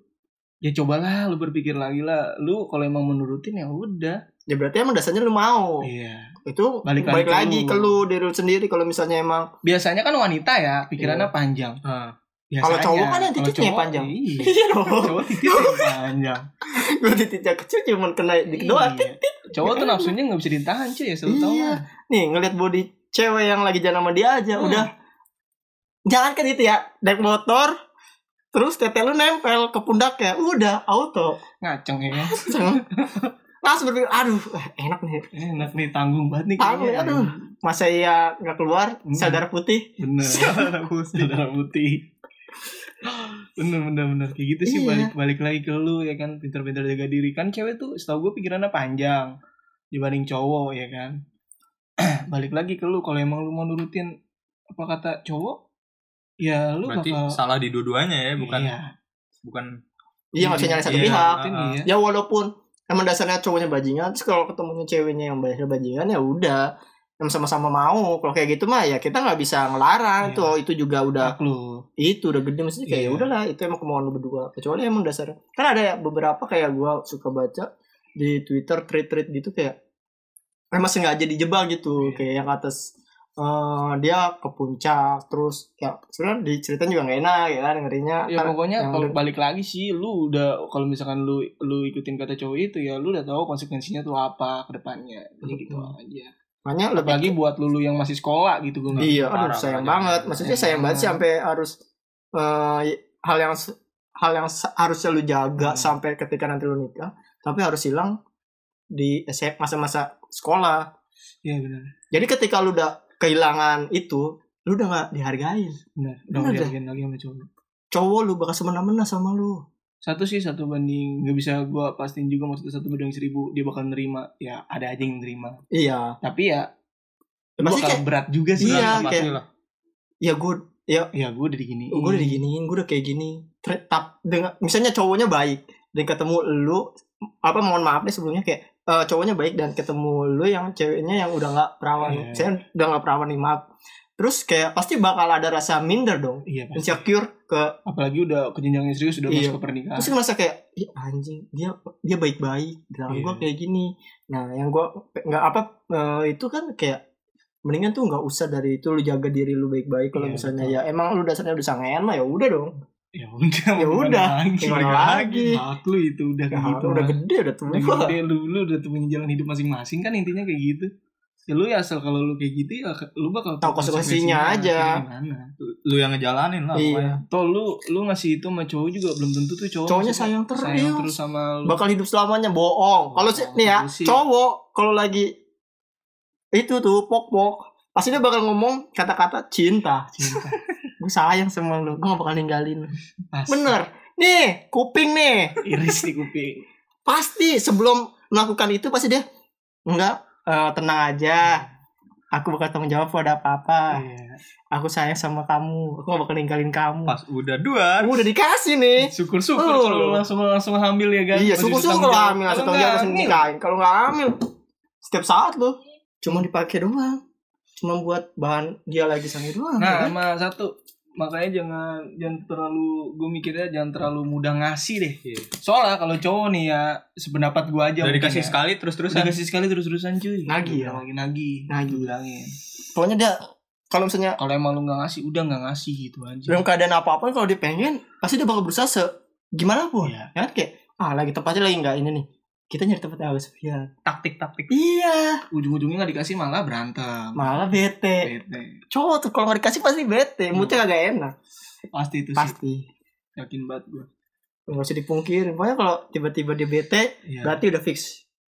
Speaker 2: ya cobalah lu berpikir lagi lah lu kalau emang menurutin ya udah
Speaker 1: ya berarti emang dasarnya lu mau
Speaker 2: iya
Speaker 1: itu balik,
Speaker 2: Balik lagi ke
Speaker 1: lagi
Speaker 2: lu.
Speaker 1: ke lu diri lu sendiri kalau misalnya emang
Speaker 2: biasanya kan wanita ya pikirannya panjang
Speaker 3: Ah,
Speaker 1: Kalau
Speaker 2: Biasanya.
Speaker 1: cowok kan yang
Speaker 2: Kalau
Speaker 1: titiknya yang
Speaker 2: cowok,
Speaker 1: panjang.
Speaker 2: iya
Speaker 1: iya dong
Speaker 2: cowok titik yang panjang
Speaker 1: gue titiknya kecil cuman kena dikit doang
Speaker 2: Iya. cowok tuh nafsunya nggak bisa ditahan cuy ya selalu
Speaker 1: Iya.
Speaker 2: tahu
Speaker 1: nih ngeliat body cewek yang lagi jalan sama dia aja
Speaker 2: Hmm.
Speaker 1: udah jangan kan itu ya naik motor terus tete lu nempel ke pundaknya udah auto
Speaker 2: ngaceng ya kan?
Speaker 1: Jangan. langsung berpikir aduh eh, enak nih
Speaker 2: enak nih tanggung banget nih
Speaker 1: Tanggung,
Speaker 2: kayaknya.
Speaker 1: aduh. masa iya nggak keluar
Speaker 2: Hmm.
Speaker 1: sel darah putih
Speaker 2: bener
Speaker 3: saudara putih.
Speaker 2: saudara putih bener bener bener kayak gitu sih
Speaker 1: Iya.
Speaker 2: balik balik lagi ke lu ya kan pinter-pinter jaga diri kan cewek tuh setahu gue pikirannya panjang dibanding cowok ya kan balik lagi ke lu kalau emang lu mau nurutin apa kata cowok ya lu
Speaker 3: Berarti
Speaker 2: bakal
Speaker 3: salah di dua-duanya ya, bukan
Speaker 2: Iya.
Speaker 3: bukan
Speaker 1: iya nggak usah nyalain satu
Speaker 3: Iya.
Speaker 1: pihak
Speaker 2: Nurutin
Speaker 3: Ah, ah.
Speaker 2: dia.
Speaker 1: ya walaupun emang dasarnya cowoknya bajingan terus kalau ketemunya ceweknya yang dasarnya bajingan ya udah emang sama-sama mau kalau kayak gitu mah ya kita nggak bisa ngelarang
Speaker 2: Iya.
Speaker 1: tuh itu juga udah
Speaker 2: Hak lu
Speaker 1: itu udah gede maksudnya kayak ya
Speaker 2: Iya.
Speaker 1: udahlah itu emang kemauan lu berdua kecuali emang dasarnya kan ada ya beberapa kayak gua suka baca di twitter tweet tweet gitu kayak emang sengaja dijebak gitu
Speaker 2: Iya.
Speaker 1: kayak yang atas eh, dia ke puncak terus ya sebenarnya diceritain juga nggak enak ya kan ngerinya
Speaker 2: ya
Speaker 1: Kan
Speaker 2: pokoknya
Speaker 1: yang
Speaker 2: kalau
Speaker 1: lu-
Speaker 2: balik lagi sih lu udah kalau misalkan lu lu ikutin kata cowok itu ya lu udah tahu konsekuensinya tuh apa ke depannya jadi gitu
Speaker 1: Betul.
Speaker 2: aja
Speaker 1: makanya lebih
Speaker 2: apalagi buat lulu yang masih sekolah gitu gue
Speaker 1: Iya, aduh
Speaker 3: Parah,
Speaker 1: sayang
Speaker 3: parah.
Speaker 1: banget. Maksudnya sayang
Speaker 2: Iya.
Speaker 1: banget sih sampai harus eh, hal yang hal yang harusnya lu jaga
Speaker 2: Hmm.
Speaker 1: sampai ketika nanti lu nikah, tapi harus hilang di S- masa-masa sekolah.
Speaker 2: Iya benar.
Speaker 1: Jadi ketika lu udah kehilangan itu, lu udah nggak dihargain.
Speaker 2: Benar.
Speaker 1: Benar,
Speaker 2: Udah
Speaker 1: dah.
Speaker 2: dihargain lagi sama cowok.
Speaker 1: Cowok lu bakal semena-mena sama lu.
Speaker 2: Satu sih satu banding nggak bisa gua pastiin juga maksudnya satu banding seribu dia bakal nerima. Ya ada aja yang nerima.
Speaker 1: Iya.
Speaker 2: Tapi ya lu
Speaker 1: Maksudnya
Speaker 2: bakal
Speaker 1: kayak-
Speaker 2: berat juga sih.
Speaker 1: Iya,
Speaker 2: Sama-
Speaker 1: kayak-
Speaker 3: pastilah.
Speaker 1: Ya gue ya
Speaker 2: Ya gue udah diginiin.
Speaker 1: gue udah diginiin, gue udah kayak gini. Tetap dengan misalnya cowoknya baik dan ketemu lu apa mohon maaf deh sebelumnya kayak eh, cowoknya baik dan ketemu lu yang ceweknya yang udah nggak perawan,
Speaker 2: Iya.
Speaker 1: saya udah nggak perawan nih maaf. Terus kayak pasti bakal ada rasa minder dong,
Speaker 2: Iya pasti.
Speaker 1: insecure ke
Speaker 2: Apalagi udah ke jenjang yang serius udah
Speaker 1: Iya.
Speaker 2: masuk ke pernikahan.
Speaker 1: terus ngerasa kayak Ih, anjing dia dia baik-baik dan
Speaker 2: Iya.
Speaker 1: gue kayak gini. Nah yang gue nggak apa eh, itu kan kayak mendingan tuh nggak usah dari itu lu jaga diri lu baik-baik kalau
Speaker 2: Iya,
Speaker 1: misalnya
Speaker 2: betul.
Speaker 1: ya emang lu dasarnya udah sangean mah ya udah dong
Speaker 2: Ya udah.
Speaker 1: Ya
Speaker 2: mau gimana
Speaker 1: udah,
Speaker 2: Lagi.
Speaker 1: gimana
Speaker 2: Gimana
Speaker 1: lagi?
Speaker 2: Hak lu itu udah kayak
Speaker 1: Ya,
Speaker 2: gitu.
Speaker 1: udah
Speaker 2: Mas.
Speaker 1: gede udah tua.
Speaker 2: Udah gede lu, lu udah punya jalan hidup masing-masing kan intinya kayak gitu. Ya lu ya asal kalau lu kayak gitu ya lu bakal
Speaker 1: Tahu konsekuensinya aja.
Speaker 2: Gimana?
Speaker 3: Lu yang ngejalanin lah
Speaker 1: Iya.
Speaker 3: pokoknya.
Speaker 2: Toh lu lu ngasih itu sama cowok juga belum tentu tuh cowok
Speaker 1: Cowoknya
Speaker 2: maksudnya
Speaker 1: sayang terus.
Speaker 2: sayang terus sama lu.
Speaker 1: Bakal hidup selamanya bohong. Kalau sih
Speaker 2: Bohong,
Speaker 1: nih ya,
Speaker 2: itu sih.
Speaker 1: cowok kalau lagi itu tuh pok-pok pasti dia bakal ngomong kata-kata cinta.
Speaker 2: cinta.
Speaker 1: Gue sayang sama lu. Gue gak bakal ninggalin. lu.
Speaker 2: Pas
Speaker 1: Bener. Nih, kuping nih.
Speaker 2: iris di kuping.
Speaker 1: Pasti sebelum melakukan itu pasti dia enggak eh, tenang aja. Aku bakal tanggung jawab kalau ada apa-apa.
Speaker 2: Iya.
Speaker 1: Aku sayang sama kamu. Aku gak bakal ninggalin kamu.
Speaker 3: Pas udah dua,
Speaker 1: Aku udah dikasih nih.
Speaker 2: Syukur-syukur
Speaker 1: Oh.
Speaker 2: kalau lu langsung langsung hamil ya kan.
Speaker 1: Iya,
Speaker 2: Masih
Speaker 1: syukur-syukur
Speaker 2: bertanggung
Speaker 1: kalau
Speaker 2: jawab.
Speaker 1: hamil langsung
Speaker 2: Kalau
Speaker 1: tanggung jawab
Speaker 2: nggak
Speaker 1: langsung
Speaker 2: hamil,
Speaker 1: nikahin. Kalau nggak hamil, setiap saat loh. Cuma dipakai doang. Cuma buat bahan dia lagi sange doang. ya
Speaker 2: Nah,
Speaker 1: kan?
Speaker 2: sama satu makanya jangan jangan terlalu gue mikirnya jangan terlalu mudah ngasih deh.
Speaker 3: Iya.
Speaker 2: Soalnya kalau cowok nih ya sependapat gue aja.
Speaker 3: udah
Speaker 2: mungkin
Speaker 3: dikasih
Speaker 2: ya.
Speaker 3: sekali
Speaker 2: Udah
Speaker 3: terus-terusan.
Speaker 2: dikasih sekali terus-terusan cuy.
Speaker 1: Nagih ya?
Speaker 2: Lagi nagih.
Speaker 1: Nagih.
Speaker 2: Bilangin.
Speaker 1: pokoknya dia kalau misalnya
Speaker 2: Kalau emang lu nggak ngasih, udah nggak ngasih gitu aja.
Speaker 1: dalam keadaan apa-apa kalau dia pengen, pasti dia bakal berusaha se gimana pun.
Speaker 2: Iya.
Speaker 1: Ya kan kayak ah lagi tempatnya lagi nggak ini nih. Kita nyari tempat yang agak sepian.
Speaker 3: Taktik-taktik.
Speaker 1: Iya,
Speaker 2: ujung-ujungnya nggak dikasih malah berantem
Speaker 1: malah bete.
Speaker 2: bete
Speaker 1: Cowok tuh kalau nggak dikasih pasti bete.
Speaker 2: Iya.
Speaker 1: Moodnya agak enak.
Speaker 2: pasti itu sih
Speaker 1: Pasti.
Speaker 2: yakin banget gue
Speaker 1: Nggak usah dipungkiri. Pokoknya kalau tiba-tiba dia bete,
Speaker 3: Ya.
Speaker 2: Iya.
Speaker 1: Berarti udah fix.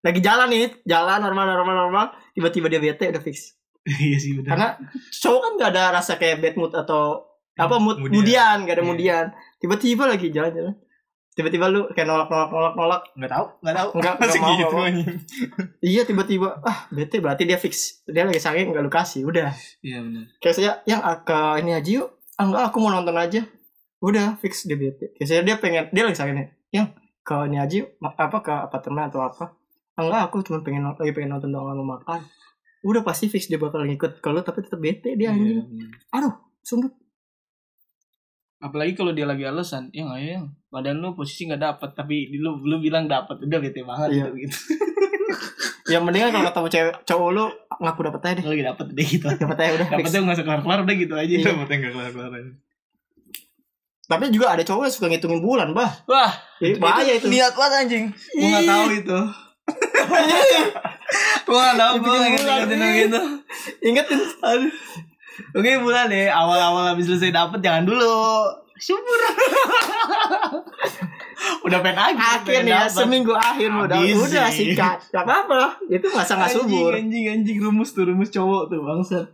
Speaker 1: Lagi jalan nih, jalan normal normal normal, tiba-tiba dia bete udah fix.
Speaker 2: iya sih
Speaker 3: Ya.
Speaker 2: benar
Speaker 1: Karena cowok kan gak ada rasa kayak bad mood atau apa mood
Speaker 3: Mudian.
Speaker 1: mudian, gak ada
Speaker 3: Iya.
Speaker 1: mudian. Tiba-tiba lagi jalan-jalan. Tiba-tiba lu kayak nolak nolak nolak nolak.
Speaker 3: Enggak tahu, enggak tahu.
Speaker 1: Enggak,
Speaker 3: Masih
Speaker 1: enggak mau,
Speaker 3: gitu
Speaker 1: enggak mau.
Speaker 3: anjing.
Speaker 1: Iya, tiba-tiba ah bete berarti dia fix. Dia lagi sange enggak lu kasih, udah.
Speaker 2: iya benar
Speaker 1: Kayak saya yang ke ini aja yuk. Ah enggak, aku mau nonton aja. Udah fix dia bete. Kayak saya dia pengen dia lagi sange nih. Yang ke ini aja yuk, apa ke apartemen atau apa. enggak aku cuma pengen lagi pengen nonton doang lama makan udah pasti fix dia bakal ngikut kalau tapi tetap bete dia
Speaker 2: Iya,
Speaker 1: anjing aduh sumpah
Speaker 2: apalagi kalau dia lagi alasan ya nggak ya badan lu posisi nggak dapat tapi lu lu bilang dapat udah bete banget
Speaker 1: Iya.
Speaker 2: gitu gitu
Speaker 1: ya mendingan kalau ketemu cewek cowok lu ngaku dapet aja deh
Speaker 2: lagi dapat udah gitu
Speaker 1: dapet aja udah fix
Speaker 2: dapatnya nggak usah kelar kelar udah gitu aja
Speaker 3: Iya, mau nggak kelar-kelar aja.
Speaker 1: tapi juga ada cowok yang suka ngitungin bulan bah
Speaker 2: wah
Speaker 1: Jadi
Speaker 3: Ah, iya,
Speaker 1: bahaya itu
Speaker 2: niat banget anjing gua nggak tahu itu gua nggak tahu gua nggak
Speaker 1: Dibikin
Speaker 2: ngerti
Speaker 1: bulan,
Speaker 2: gitu
Speaker 1: ingetin
Speaker 2: Aduh. Oke bulan deh awal-awal habis selesai dapet jangan dulu syukur udah pengen lagi
Speaker 1: akhir
Speaker 2: pengen
Speaker 1: nih ya
Speaker 2: dapet.
Speaker 1: seminggu akhir udah
Speaker 2: Habis
Speaker 1: udah
Speaker 2: sih.
Speaker 1: sikat gak apa-apa itu masa nggak
Speaker 2: Anjing,
Speaker 1: subur
Speaker 2: anjing anjing rumus tuh rumus cowok tuh bangsat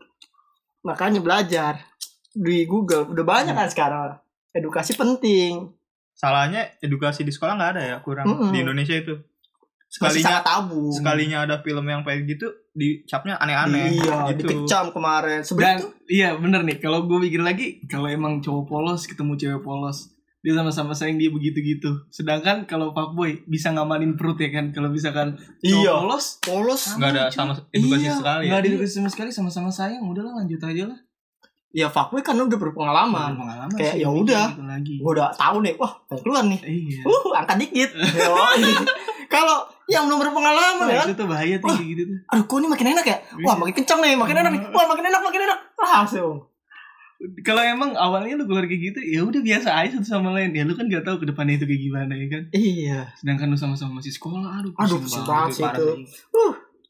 Speaker 1: makanya belajar di Google udah banyak
Speaker 2: Hmm.
Speaker 1: kan sekarang edukasi penting
Speaker 3: Salahnya edukasi di sekolah nggak ada ya kurang
Speaker 1: Mm-mm.
Speaker 3: di Indonesia itu.
Speaker 1: masih
Speaker 3: Sekalinya
Speaker 1: sangat tabu
Speaker 3: sekalinya ada film yang kayak gitu dicapnya aneh-aneh
Speaker 1: iya
Speaker 3: gitu.
Speaker 1: dikecam kemarin
Speaker 2: dan
Speaker 1: sebenarnya
Speaker 2: iya bener nih kalau gue mikir lagi kalau emang cowok polos ketemu cewek polos dia sama-sama sayang dia begitu-gitu sedangkan kalau fuckboy bisa ngamanin perut ya kan kalau misalkan cowok
Speaker 1: Iya.
Speaker 2: polos
Speaker 1: polos
Speaker 3: Nggak ada sama edukasi sekali.
Speaker 2: nggak
Speaker 3: Ya.
Speaker 2: ada edukasi sama sekali sama-sama sayang udahlah lanjut aja lah
Speaker 1: ya fuckboy kan udah berpengalaman
Speaker 2: pengalaman
Speaker 1: Kayak
Speaker 2: sih,
Speaker 1: ya
Speaker 2: gitu
Speaker 1: udah.
Speaker 2: lagi
Speaker 1: gue udah tahu nih wah mau keluar nih
Speaker 2: iya
Speaker 1: uh angkat dikit Yoi. kalau yang belum berpengalaman
Speaker 2: Wah,
Speaker 1: ya
Speaker 2: Nah, itu Iya. tuh bahaya tuh
Speaker 1: Wah.
Speaker 2: kayak gitu tuh
Speaker 1: aduh kok ini makin enak ya wah makin kencang nih makin enak nih
Speaker 2: Hmm.
Speaker 1: wah makin enak makin enak langsung
Speaker 2: kalau emang awalnya lu keluar kayak gitu ya udah biasa aja satu sama lain ya lu kan gak tahu kedepannya itu kayak gimana ya kan
Speaker 1: iya
Speaker 2: sedangkan lu sama-sama masih sekolah aduh
Speaker 1: Aduh, pusing banget sih
Speaker 2: parah
Speaker 1: itu.
Speaker 2: sih.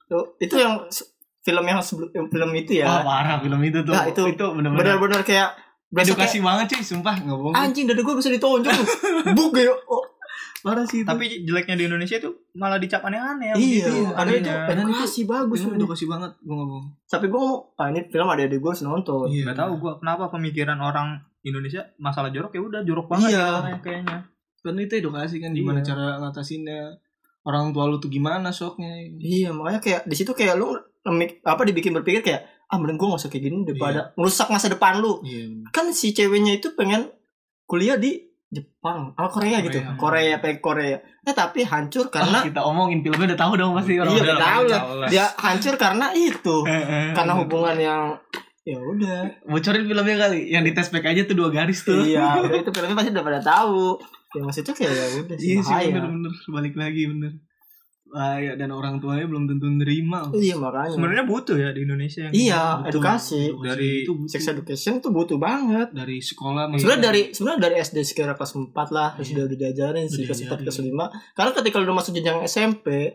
Speaker 1: Tuh, itu yang se- film yang sebelum yang film itu ya
Speaker 2: Wah parah film itu tuh.
Speaker 1: Nah, itu
Speaker 2: itu benar-benar
Speaker 1: benar-benar kayak besoknya,
Speaker 2: edukasi banget cuy, sumpah nggak bohong.
Speaker 1: anjing dada gue bisa ditonjol tuh. bug ya oh,
Speaker 2: Parah sih itu.
Speaker 3: Tapi jeleknya di Indonesia itu malah dicap aneh-aneh gitu.
Speaker 1: iya
Speaker 3: begitu.
Speaker 1: ada itu
Speaker 3: Anehnya.
Speaker 2: Padahal itu-
Speaker 1: edukasi bagus
Speaker 2: film
Speaker 1: sebenarnya.
Speaker 2: edukasi banget gue nggak bohong.
Speaker 1: tapi gue ngomong ah ini film ada adik gue harus nonton
Speaker 2: Iya.
Speaker 3: Gak tahu gua kenapa pemikiran orang Indonesia masalah jorok ya udah jorok banget
Speaker 1: Iya.
Speaker 3: ya orangnya kayaknya.
Speaker 2: Karena itu edukasi kan gimana
Speaker 3: Iya.
Speaker 2: cara ngatasinnya. Orang tua lu tuh gimana shocknya.
Speaker 1: Iya makanya kayak di situ kayak lu nemik- apa dibikin berpikir kayak ah mending gue gak usah kayak gini daripada merusak masa depan lu
Speaker 2: Iya.
Speaker 1: kan si ceweknya itu pengen kuliah di Jepang atau Korea, gitu
Speaker 2: Korea. iya.
Speaker 1: Korea pengen Korea eh tapi hancur
Speaker 2: Karena
Speaker 1: karena
Speaker 2: kita omongin filmnya udah tahu dong pasti Eh, orang.
Speaker 1: Iya,
Speaker 3: Udah
Speaker 1: udah tahu lah.
Speaker 3: tahu lah.
Speaker 1: dia hancur karena itu karena
Speaker 2: Karena
Speaker 1: hubungan yang ya udah
Speaker 2: bocorin filmnya kali yang di test pack aja tuh dua garis tuh.
Speaker 1: iya udah itu filmnya pasti udah pada tahu ya maksudnya kayak ya udah sih
Speaker 2: Iya sih
Speaker 1: bahaya
Speaker 2: bener-bener balik lagi bener. Bahaya dan orang tuanya belum tentu nerima.
Speaker 1: iya makanya
Speaker 3: Sebenarnya butuh ya di Indonesia yang gitu.
Speaker 1: iya
Speaker 2: Betul.
Speaker 1: edukasi
Speaker 3: Dari
Speaker 2: itu butuh.
Speaker 1: sex education tuh butuh banget
Speaker 2: dari sekolah
Speaker 1: Sebenarnya
Speaker 2: maksudnya.
Speaker 1: dari sebenarnya dari SD sekitar kelas 4 lah terus
Speaker 2: Iya.
Speaker 1: udah diajarin sih kelas 4
Speaker 2: Diajarin.
Speaker 1: kelas 5. Karena ketika lu udah masuk jenjang SMP,
Speaker 2: Iya.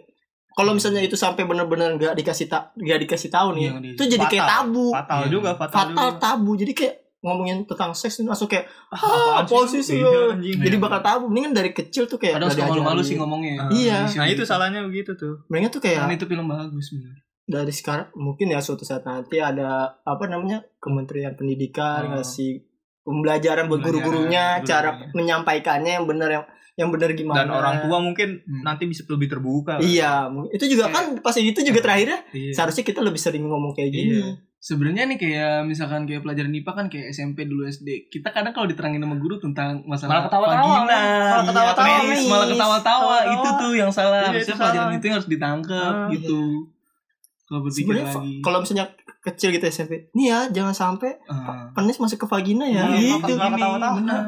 Speaker 1: kalau misalnya itu sampai benar-benar nggak dikasih tak nggak dikasih tahu nih,
Speaker 2: Yang di-
Speaker 1: itu jadi kayak
Speaker 3: fatal.
Speaker 1: tabu. Fatal,
Speaker 3: fatal
Speaker 2: Iya.
Speaker 3: juga, fatal, juga.
Speaker 1: tabu. Jadi kayak ngomongin tentang seks itu langsung kayak ah,
Speaker 3: Apaan sih?
Speaker 1: posisi
Speaker 3: Iya,
Speaker 1: lo.
Speaker 3: anjing.
Speaker 1: Jadi bakal tabu. Mendingan dari kecil tuh kayak
Speaker 2: Padahal
Speaker 1: udah
Speaker 2: suka malu-malu
Speaker 1: diajarin.
Speaker 2: sih ngomongnya.
Speaker 1: Iya.
Speaker 3: Nah, itu salahnya begitu tuh.
Speaker 1: Mendingan tuh
Speaker 2: Kan
Speaker 1: kayak
Speaker 2: itu film bagus bener.
Speaker 1: dari sekarang mungkin ya suatu saat nanti ada apa namanya Kementerian Pendidikan
Speaker 2: Oh.
Speaker 1: ngasih pembelajaran buat
Speaker 2: Pembelajaran,
Speaker 1: guru-gurunya cara
Speaker 2: guru-gurunya.
Speaker 1: menyampaikannya yang benar yang yang benar gimana
Speaker 3: Dan orang tua mungkin
Speaker 2: Hmm.
Speaker 3: nanti bisa lebih terbuka.
Speaker 1: iya mungkin- itu juga kan pas itu juga terakhirnya
Speaker 3: Iya.
Speaker 1: seharusnya kita lebih sering ngomong kayak gini
Speaker 3: Iya.
Speaker 2: Sebenarnya nih kayak misalkan kayak pelajaran IPA kan kayak SMP dulu SD. Kita kadang kalau diterangin sama guru tentang masalah
Speaker 3: Malah ketawa-tawa,
Speaker 2: vagina,
Speaker 3: kan? Malah
Speaker 2: iya,
Speaker 3: ketawa-tawa,
Speaker 2: penis,
Speaker 1: Miss.
Speaker 3: Iya.
Speaker 2: malah ketawa-tawa.
Speaker 3: Ketawa-tawa.
Speaker 2: Itu tuh yang salah.
Speaker 3: Iya, itu
Speaker 2: Harusnya pelajaran
Speaker 3: salah.
Speaker 2: itu yang harus ditangkap
Speaker 3: Ah,
Speaker 2: gitu. Kalau berpikir
Speaker 1: sebenarnya fa-
Speaker 2: lagi.
Speaker 1: kalau misalnya kecil gitu SMP nih ya jangan sampai
Speaker 2: Ah.
Speaker 1: penis masuk ke vagina ya Gitu.
Speaker 3: Iya, makan- makan- ketawa-tawa.
Speaker 2: Benar.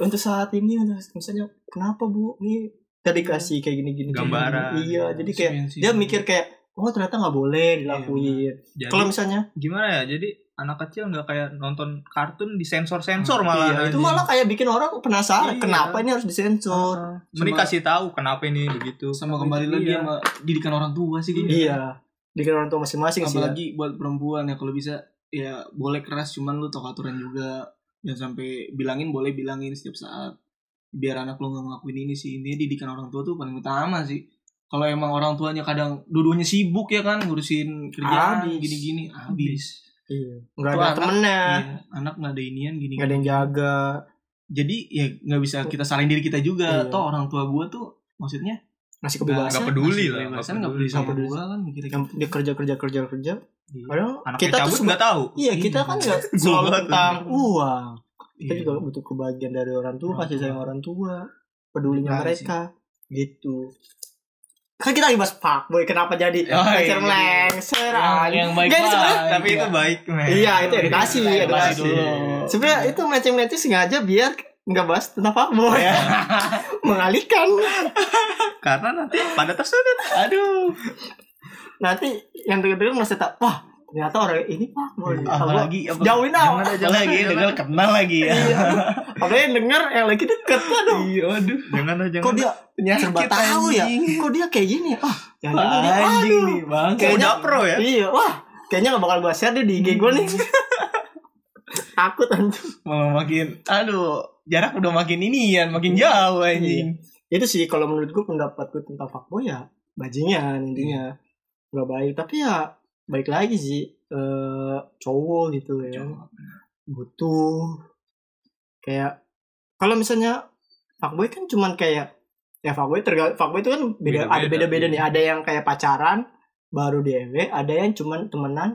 Speaker 1: untuk saat ini untuk misalnya kenapa bu nih tadi kasih kayak gini gini
Speaker 3: Gambaran.
Speaker 1: iya jadi kayak
Speaker 2: Sebenarnya sih.
Speaker 1: dia mikir kayak oh ternyata nggak boleh
Speaker 3: Iya,
Speaker 1: dilakuin
Speaker 3: Jadi
Speaker 1: kalau misalnya
Speaker 3: gimana ya? Jadi anak kecil nggak kayak nonton kartun disensor-sensor malah. Nah,
Speaker 1: iya, itu
Speaker 3: anjing.
Speaker 1: malah kayak bikin orang penasaran
Speaker 3: Iya.
Speaker 1: kenapa ini harus disensor
Speaker 3: Ah, Mending
Speaker 2: Cuma-
Speaker 3: kasih tahu kenapa ini begitu.
Speaker 2: sama kembali lagi
Speaker 3: Iya.
Speaker 2: sama didikan orang tua sih gitu.
Speaker 1: iya bikin orang tua masing-masing sih ya.
Speaker 2: apalagi buat perempuan ya kalau bisa ya boleh keras cuman lu tau aturan juga jangan sampai bilangin boleh bilangin setiap saat biar anak lu nggak ngelakuin ini sih ini didikan orang tua tuh paling utama sih kalau emang orang tuanya kadang dua-duanya sibuk ya kan ngurusin kerjaan
Speaker 1: Habis.
Speaker 2: gini-gini habis
Speaker 1: iya nggak
Speaker 2: Tuh
Speaker 1: ada
Speaker 2: anak-
Speaker 1: temennya
Speaker 2: Iya, anak nggak ada inian gini
Speaker 1: nggak ada yang jaga
Speaker 2: jadi ya nggak bisa kita salin diri kita juga
Speaker 1: Iya.
Speaker 2: toh orang tua gua tuh maksudnya
Speaker 1: ngasih
Speaker 3: Nggak
Speaker 1: kebebasan
Speaker 3: peduli
Speaker 2: masih
Speaker 3: lah, nggak
Speaker 2: kebebasan, nggak
Speaker 3: peduli.
Speaker 2: peduli sama
Speaker 1: Nggak peduli.
Speaker 2: gua kan mikirnya
Speaker 1: yang dia kerja kerja kerja kerja
Speaker 2: Iya.
Speaker 1: padahal
Speaker 3: Anak
Speaker 1: kita tuh
Speaker 3: cabut
Speaker 1: seba-
Speaker 3: nggak tahu.
Speaker 1: iya kita
Speaker 2: Iya.
Speaker 1: kan nggak
Speaker 3: Gua
Speaker 1: selalu
Speaker 3: banget.
Speaker 1: tentang uang kita
Speaker 2: Iya.
Speaker 1: juga butuh kebahagiaan dari orang tua
Speaker 2: Orang
Speaker 1: kasih sayang
Speaker 2: tua.
Speaker 1: orang tua pedulinya
Speaker 2: Benar sih.
Speaker 1: mereka gitu kan kita lagi bahas fuckboy kenapa jadi
Speaker 2: Oh, iya.
Speaker 1: lengsir lengser
Speaker 2: yang, yang baik
Speaker 1: Nggak, ini sebenarnya-
Speaker 2: baik,
Speaker 3: Tapi
Speaker 2: ya.
Speaker 3: itu baik, men.
Speaker 1: Iya, itu edukasi,
Speaker 2: Edukasi
Speaker 1: edukasi.
Speaker 2: dulu.
Speaker 1: sebenarnya itu melenceng-melenceng sengaja biar nggak bahas tentang fuckboy
Speaker 2: Iya.
Speaker 1: mengalihkan
Speaker 3: Karena nanti pada tersudut.
Speaker 2: aduh
Speaker 1: nanti yang denger-denger merasa tak wah ternyata orang ini fuckboy Apalagi
Speaker 2: Hmm, apalagi apa-
Speaker 1: jauhin
Speaker 3: Jangan
Speaker 1: dong
Speaker 3: ada, jangan
Speaker 2: apalagi
Speaker 3: ada, jangan
Speaker 2: dengar
Speaker 3: ada. Iya.
Speaker 2: kenal lagi ya
Speaker 1: apalagi yang denger yang lagi deket aduh
Speaker 2: iya aduh
Speaker 3: Jangan ada, jangan.
Speaker 1: kok dia
Speaker 2: Penyakit
Speaker 1: serba tahu ya
Speaker 2: anjing.
Speaker 1: kok dia kayak gini ah yang
Speaker 2: Wah,
Speaker 1: dia
Speaker 2: anjing
Speaker 1: aduh.
Speaker 2: nih bang
Speaker 1: Kayak-
Speaker 3: Kayaknya pro ya.
Speaker 1: Iya, wah, kayaknya gak bakal gua share deh di IG gue nih. Takut anjing.
Speaker 2: malah makin aduh jarak udah makin inian makin jauh anjing
Speaker 1: Itu sih kalau menurut gue pendapat gue tentang fuckboy ya bajingan intinya.
Speaker 3: Hmm.
Speaker 1: Gak baik, tapi ya baik lagi sih eh cowok gitu ya. Butuh kayak kalau misalnya fuckboy kan cuman kayak ya fuckboy tergal fuckboy itu kan beda, ada
Speaker 3: Beda-beda,
Speaker 1: beda-beda
Speaker 3: iya.
Speaker 1: nih. Ada yang kayak pacaran baru DW, ada yang cuman temenan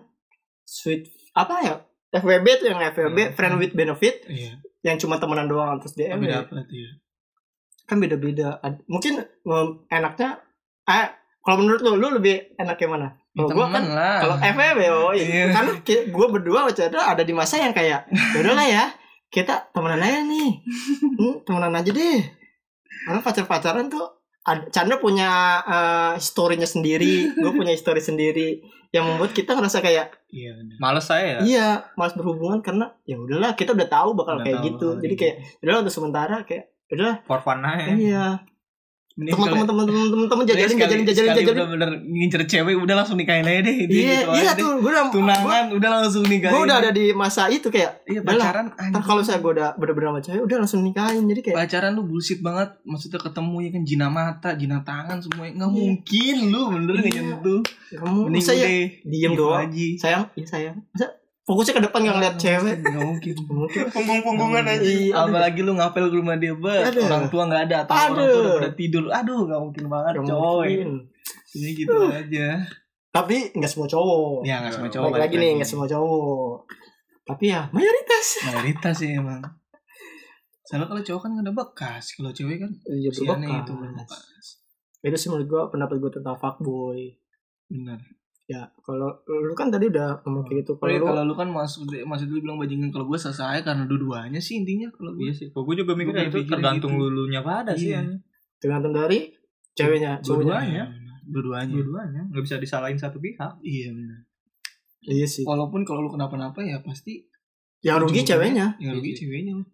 Speaker 1: sweet apa ya? FWB tuh yang FWB
Speaker 3: Hmm.
Speaker 1: friend with benefit
Speaker 3: Iya.
Speaker 1: yang cuma temenan doang terus DM
Speaker 3: Tapi
Speaker 1: ya.
Speaker 3: dapat
Speaker 2: iya.
Speaker 3: ya.
Speaker 1: kan beda-beda Ad- mungkin mm, enaknya eh kalau menurut lu lu lebih enak yang mana kalau gua kan
Speaker 2: lah
Speaker 1: kalau FWB oh
Speaker 2: Iya.
Speaker 1: iya. kan ki- gua berdua Ocha tuh ada di masa yang kayak yaudah lah ya kita temenan aja nih Hmm, temenan aja deh karena pacar-pacaran tuh ad- Chandra punya eh, historinya sendiri, gue punya histori sendiri yang membuat kita ngerasa kayak
Speaker 2: iya bener.
Speaker 3: Males saya ya.
Speaker 1: iya malas berhubungan karena ya udahlah kita udah tahu bakal
Speaker 3: Udah
Speaker 1: kayak
Speaker 3: tahu
Speaker 1: gitu,
Speaker 3: bakal
Speaker 1: jadi
Speaker 2: iya.
Speaker 3: gitu.
Speaker 1: kayak udahlah untuk sementara kayak udahlah
Speaker 3: For fun aja.
Speaker 1: Iya.
Speaker 2: Mending
Speaker 1: Teman-teman
Speaker 2: sekali-
Speaker 1: teman-teman teman-teman
Speaker 2: Jadi
Speaker 1: jajarin
Speaker 2: sekali-
Speaker 1: jajarin jajarin
Speaker 2: sekali
Speaker 1: jajarin.
Speaker 2: udah bener ngincer cewek udah langsung nikahin aja deh dia
Speaker 1: Iya,
Speaker 2: gitu
Speaker 1: iya
Speaker 2: aja deh.
Speaker 1: tuh. Gue udah
Speaker 2: tunangan udah langsung nikahin
Speaker 1: Gue udah ada di masa itu kayak
Speaker 2: iya
Speaker 1: Udah lah.
Speaker 2: pacaran
Speaker 1: ntar
Speaker 2: anjing.
Speaker 1: kalau saya gue udah bener-bener sama cewek udah langsung nikahin jadi kayak
Speaker 2: pacaran lu bullshit banget maksudnya ketemu ya kan jina mata jina tangan semuanya nggak mungkin lu bener nggak
Speaker 1: Iya.
Speaker 2: nyentuh
Speaker 1: kamu
Speaker 2: mending
Speaker 1: saya
Speaker 2: deh Gitu
Speaker 1: diem doang sayang iya sayang Masa fokusnya ke depan nggak
Speaker 2: Iya,
Speaker 1: ngeliat cewek
Speaker 2: nggak mungkin
Speaker 1: Mungkin.
Speaker 3: Punggung-punggungan aja.
Speaker 1: Iya, aduh.
Speaker 2: apalagi lu ngapel ke rumah dia bet
Speaker 1: Aduh.
Speaker 2: orang tua nggak ada atau orang tua udah
Speaker 1: Aduh.
Speaker 2: pada tidur aduh nggak mungkin banget
Speaker 1: Nggak
Speaker 2: coy
Speaker 1: mungkin.
Speaker 2: ini gitu aja
Speaker 1: tapi nggak semua cowok
Speaker 2: ya nggak semua cowok
Speaker 1: balik lagi nih nggak semua cowok tapi ya mayoritas
Speaker 2: mayoritas sih emang soalnya kalau cowok kan nggak ada bekas kalau cewek kan
Speaker 1: iya
Speaker 2: siannya
Speaker 1: berbekas.
Speaker 2: itu berbekas
Speaker 1: itu sih menurut gue pendapat gue tentang fuckboy
Speaker 2: benar
Speaker 1: ya kalau lu kan tadi udah ngomong kayak gitu
Speaker 2: Oh iya,
Speaker 1: kalau lu
Speaker 2: kalau lu kan masuk masih dulu bilang bajingan kalau gue selesai karena dua-duanya sih intinya kalau gue
Speaker 3: Iya sih. Gue juga mikir
Speaker 2: Gua
Speaker 3: itu
Speaker 2: mikirnya
Speaker 3: tergantung
Speaker 2: gitu.
Speaker 3: lulunya pada sih.
Speaker 2: Iya.
Speaker 3: anjing.
Speaker 1: tergantung dari ceweknya cowoknya.
Speaker 2: dua-duanya Iya, dua-duanya
Speaker 3: Dua-duanya. Nggak bisa disalahin satu pihak.
Speaker 2: iya benar
Speaker 1: iya sih
Speaker 2: walaupun kalau lu kenapa-napa ya pasti
Speaker 1: yang rugi
Speaker 2: Ujung-ujungnya.
Speaker 1: ceweknya
Speaker 2: yang rugi ceweknya lah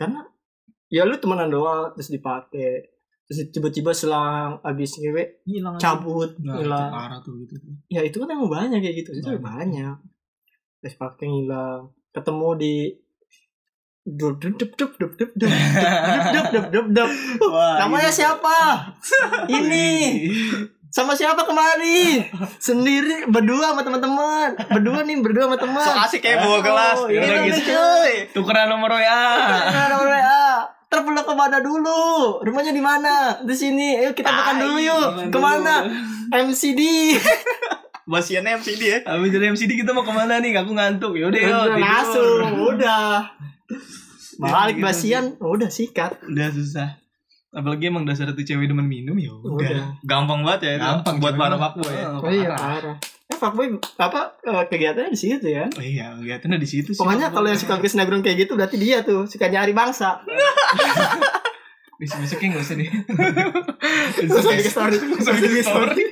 Speaker 1: karena ya lu temenan doang terus dipakai terus tiba-tiba selang abis ngewe
Speaker 3: Hilang. aja.
Speaker 1: cabut
Speaker 2: nah, itu Nah.
Speaker 1: hilang
Speaker 2: parah tuh gitu
Speaker 1: ya itu kan emang banyak kayak gitu itu
Speaker 2: Banyak.
Speaker 1: banyak terus pakai hilang ketemu di dup dup dup dup dup dup dup dup dup dup dup
Speaker 2: Wah,
Speaker 1: namanya
Speaker 2: gitu.
Speaker 1: siapa ini sama siapa kemari sendiri berdua sama teman-teman berdua nih berdua sama teman
Speaker 3: So asik ya bawa gelas.
Speaker 1: Oh, iya,
Speaker 3: Ya udah
Speaker 1: iya,
Speaker 3: gitu.
Speaker 1: cuy.
Speaker 2: tukeran nomor WA
Speaker 1: Nah, nomor WA. terpeluk kemana dulu rumahnya di mana di sini ayo kita makan dulu yuk
Speaker 2: makan
Speaker 1: kemana MCD
Speaker 3: Basiannya MCD ya.
Speaker 2: Abis dari MCD kita mau kemana nih? Aku ngantuk. Yaudah yuk.
Speaker 1: udah
Speaker 2: tidur.
Speaker 1: Nah, langsung udah balik
Speaker 2: gitu
Speaker 1: basian udah sikat
Speaker 2: Udah susah. Apalagi emang dasar tuh cewek demen minum ya udah.
Speaker 1: udah
Speaker 3: Gampang banget ya itu.
Speaker 2: Gampang
Speaker 3: buat
Speaker 2: cewek
Speaker 3: para
Speaker 2: mah.
Speaker 3: fuckboy ya.
Speaker 2: Oh,
Speaker 1: oh, iya
Speaker 2: parah.
Speaker 1: parah ya fuckboy apa eh, kegiatannya di situ ya
Speaker 2: Oh, iya, lihatnya di situ sih.
Speaker 1: pokoknya kalau yang suka sinetron kayak gitu berarti dia tuh suka nyari bangsa
Speaker 2: besok besoknya nggak usah deh.
Speaker 1: Terus bikin story
Speaker 2: Besok
Speaker 1: Terus bikin story.
Speaker 2: story.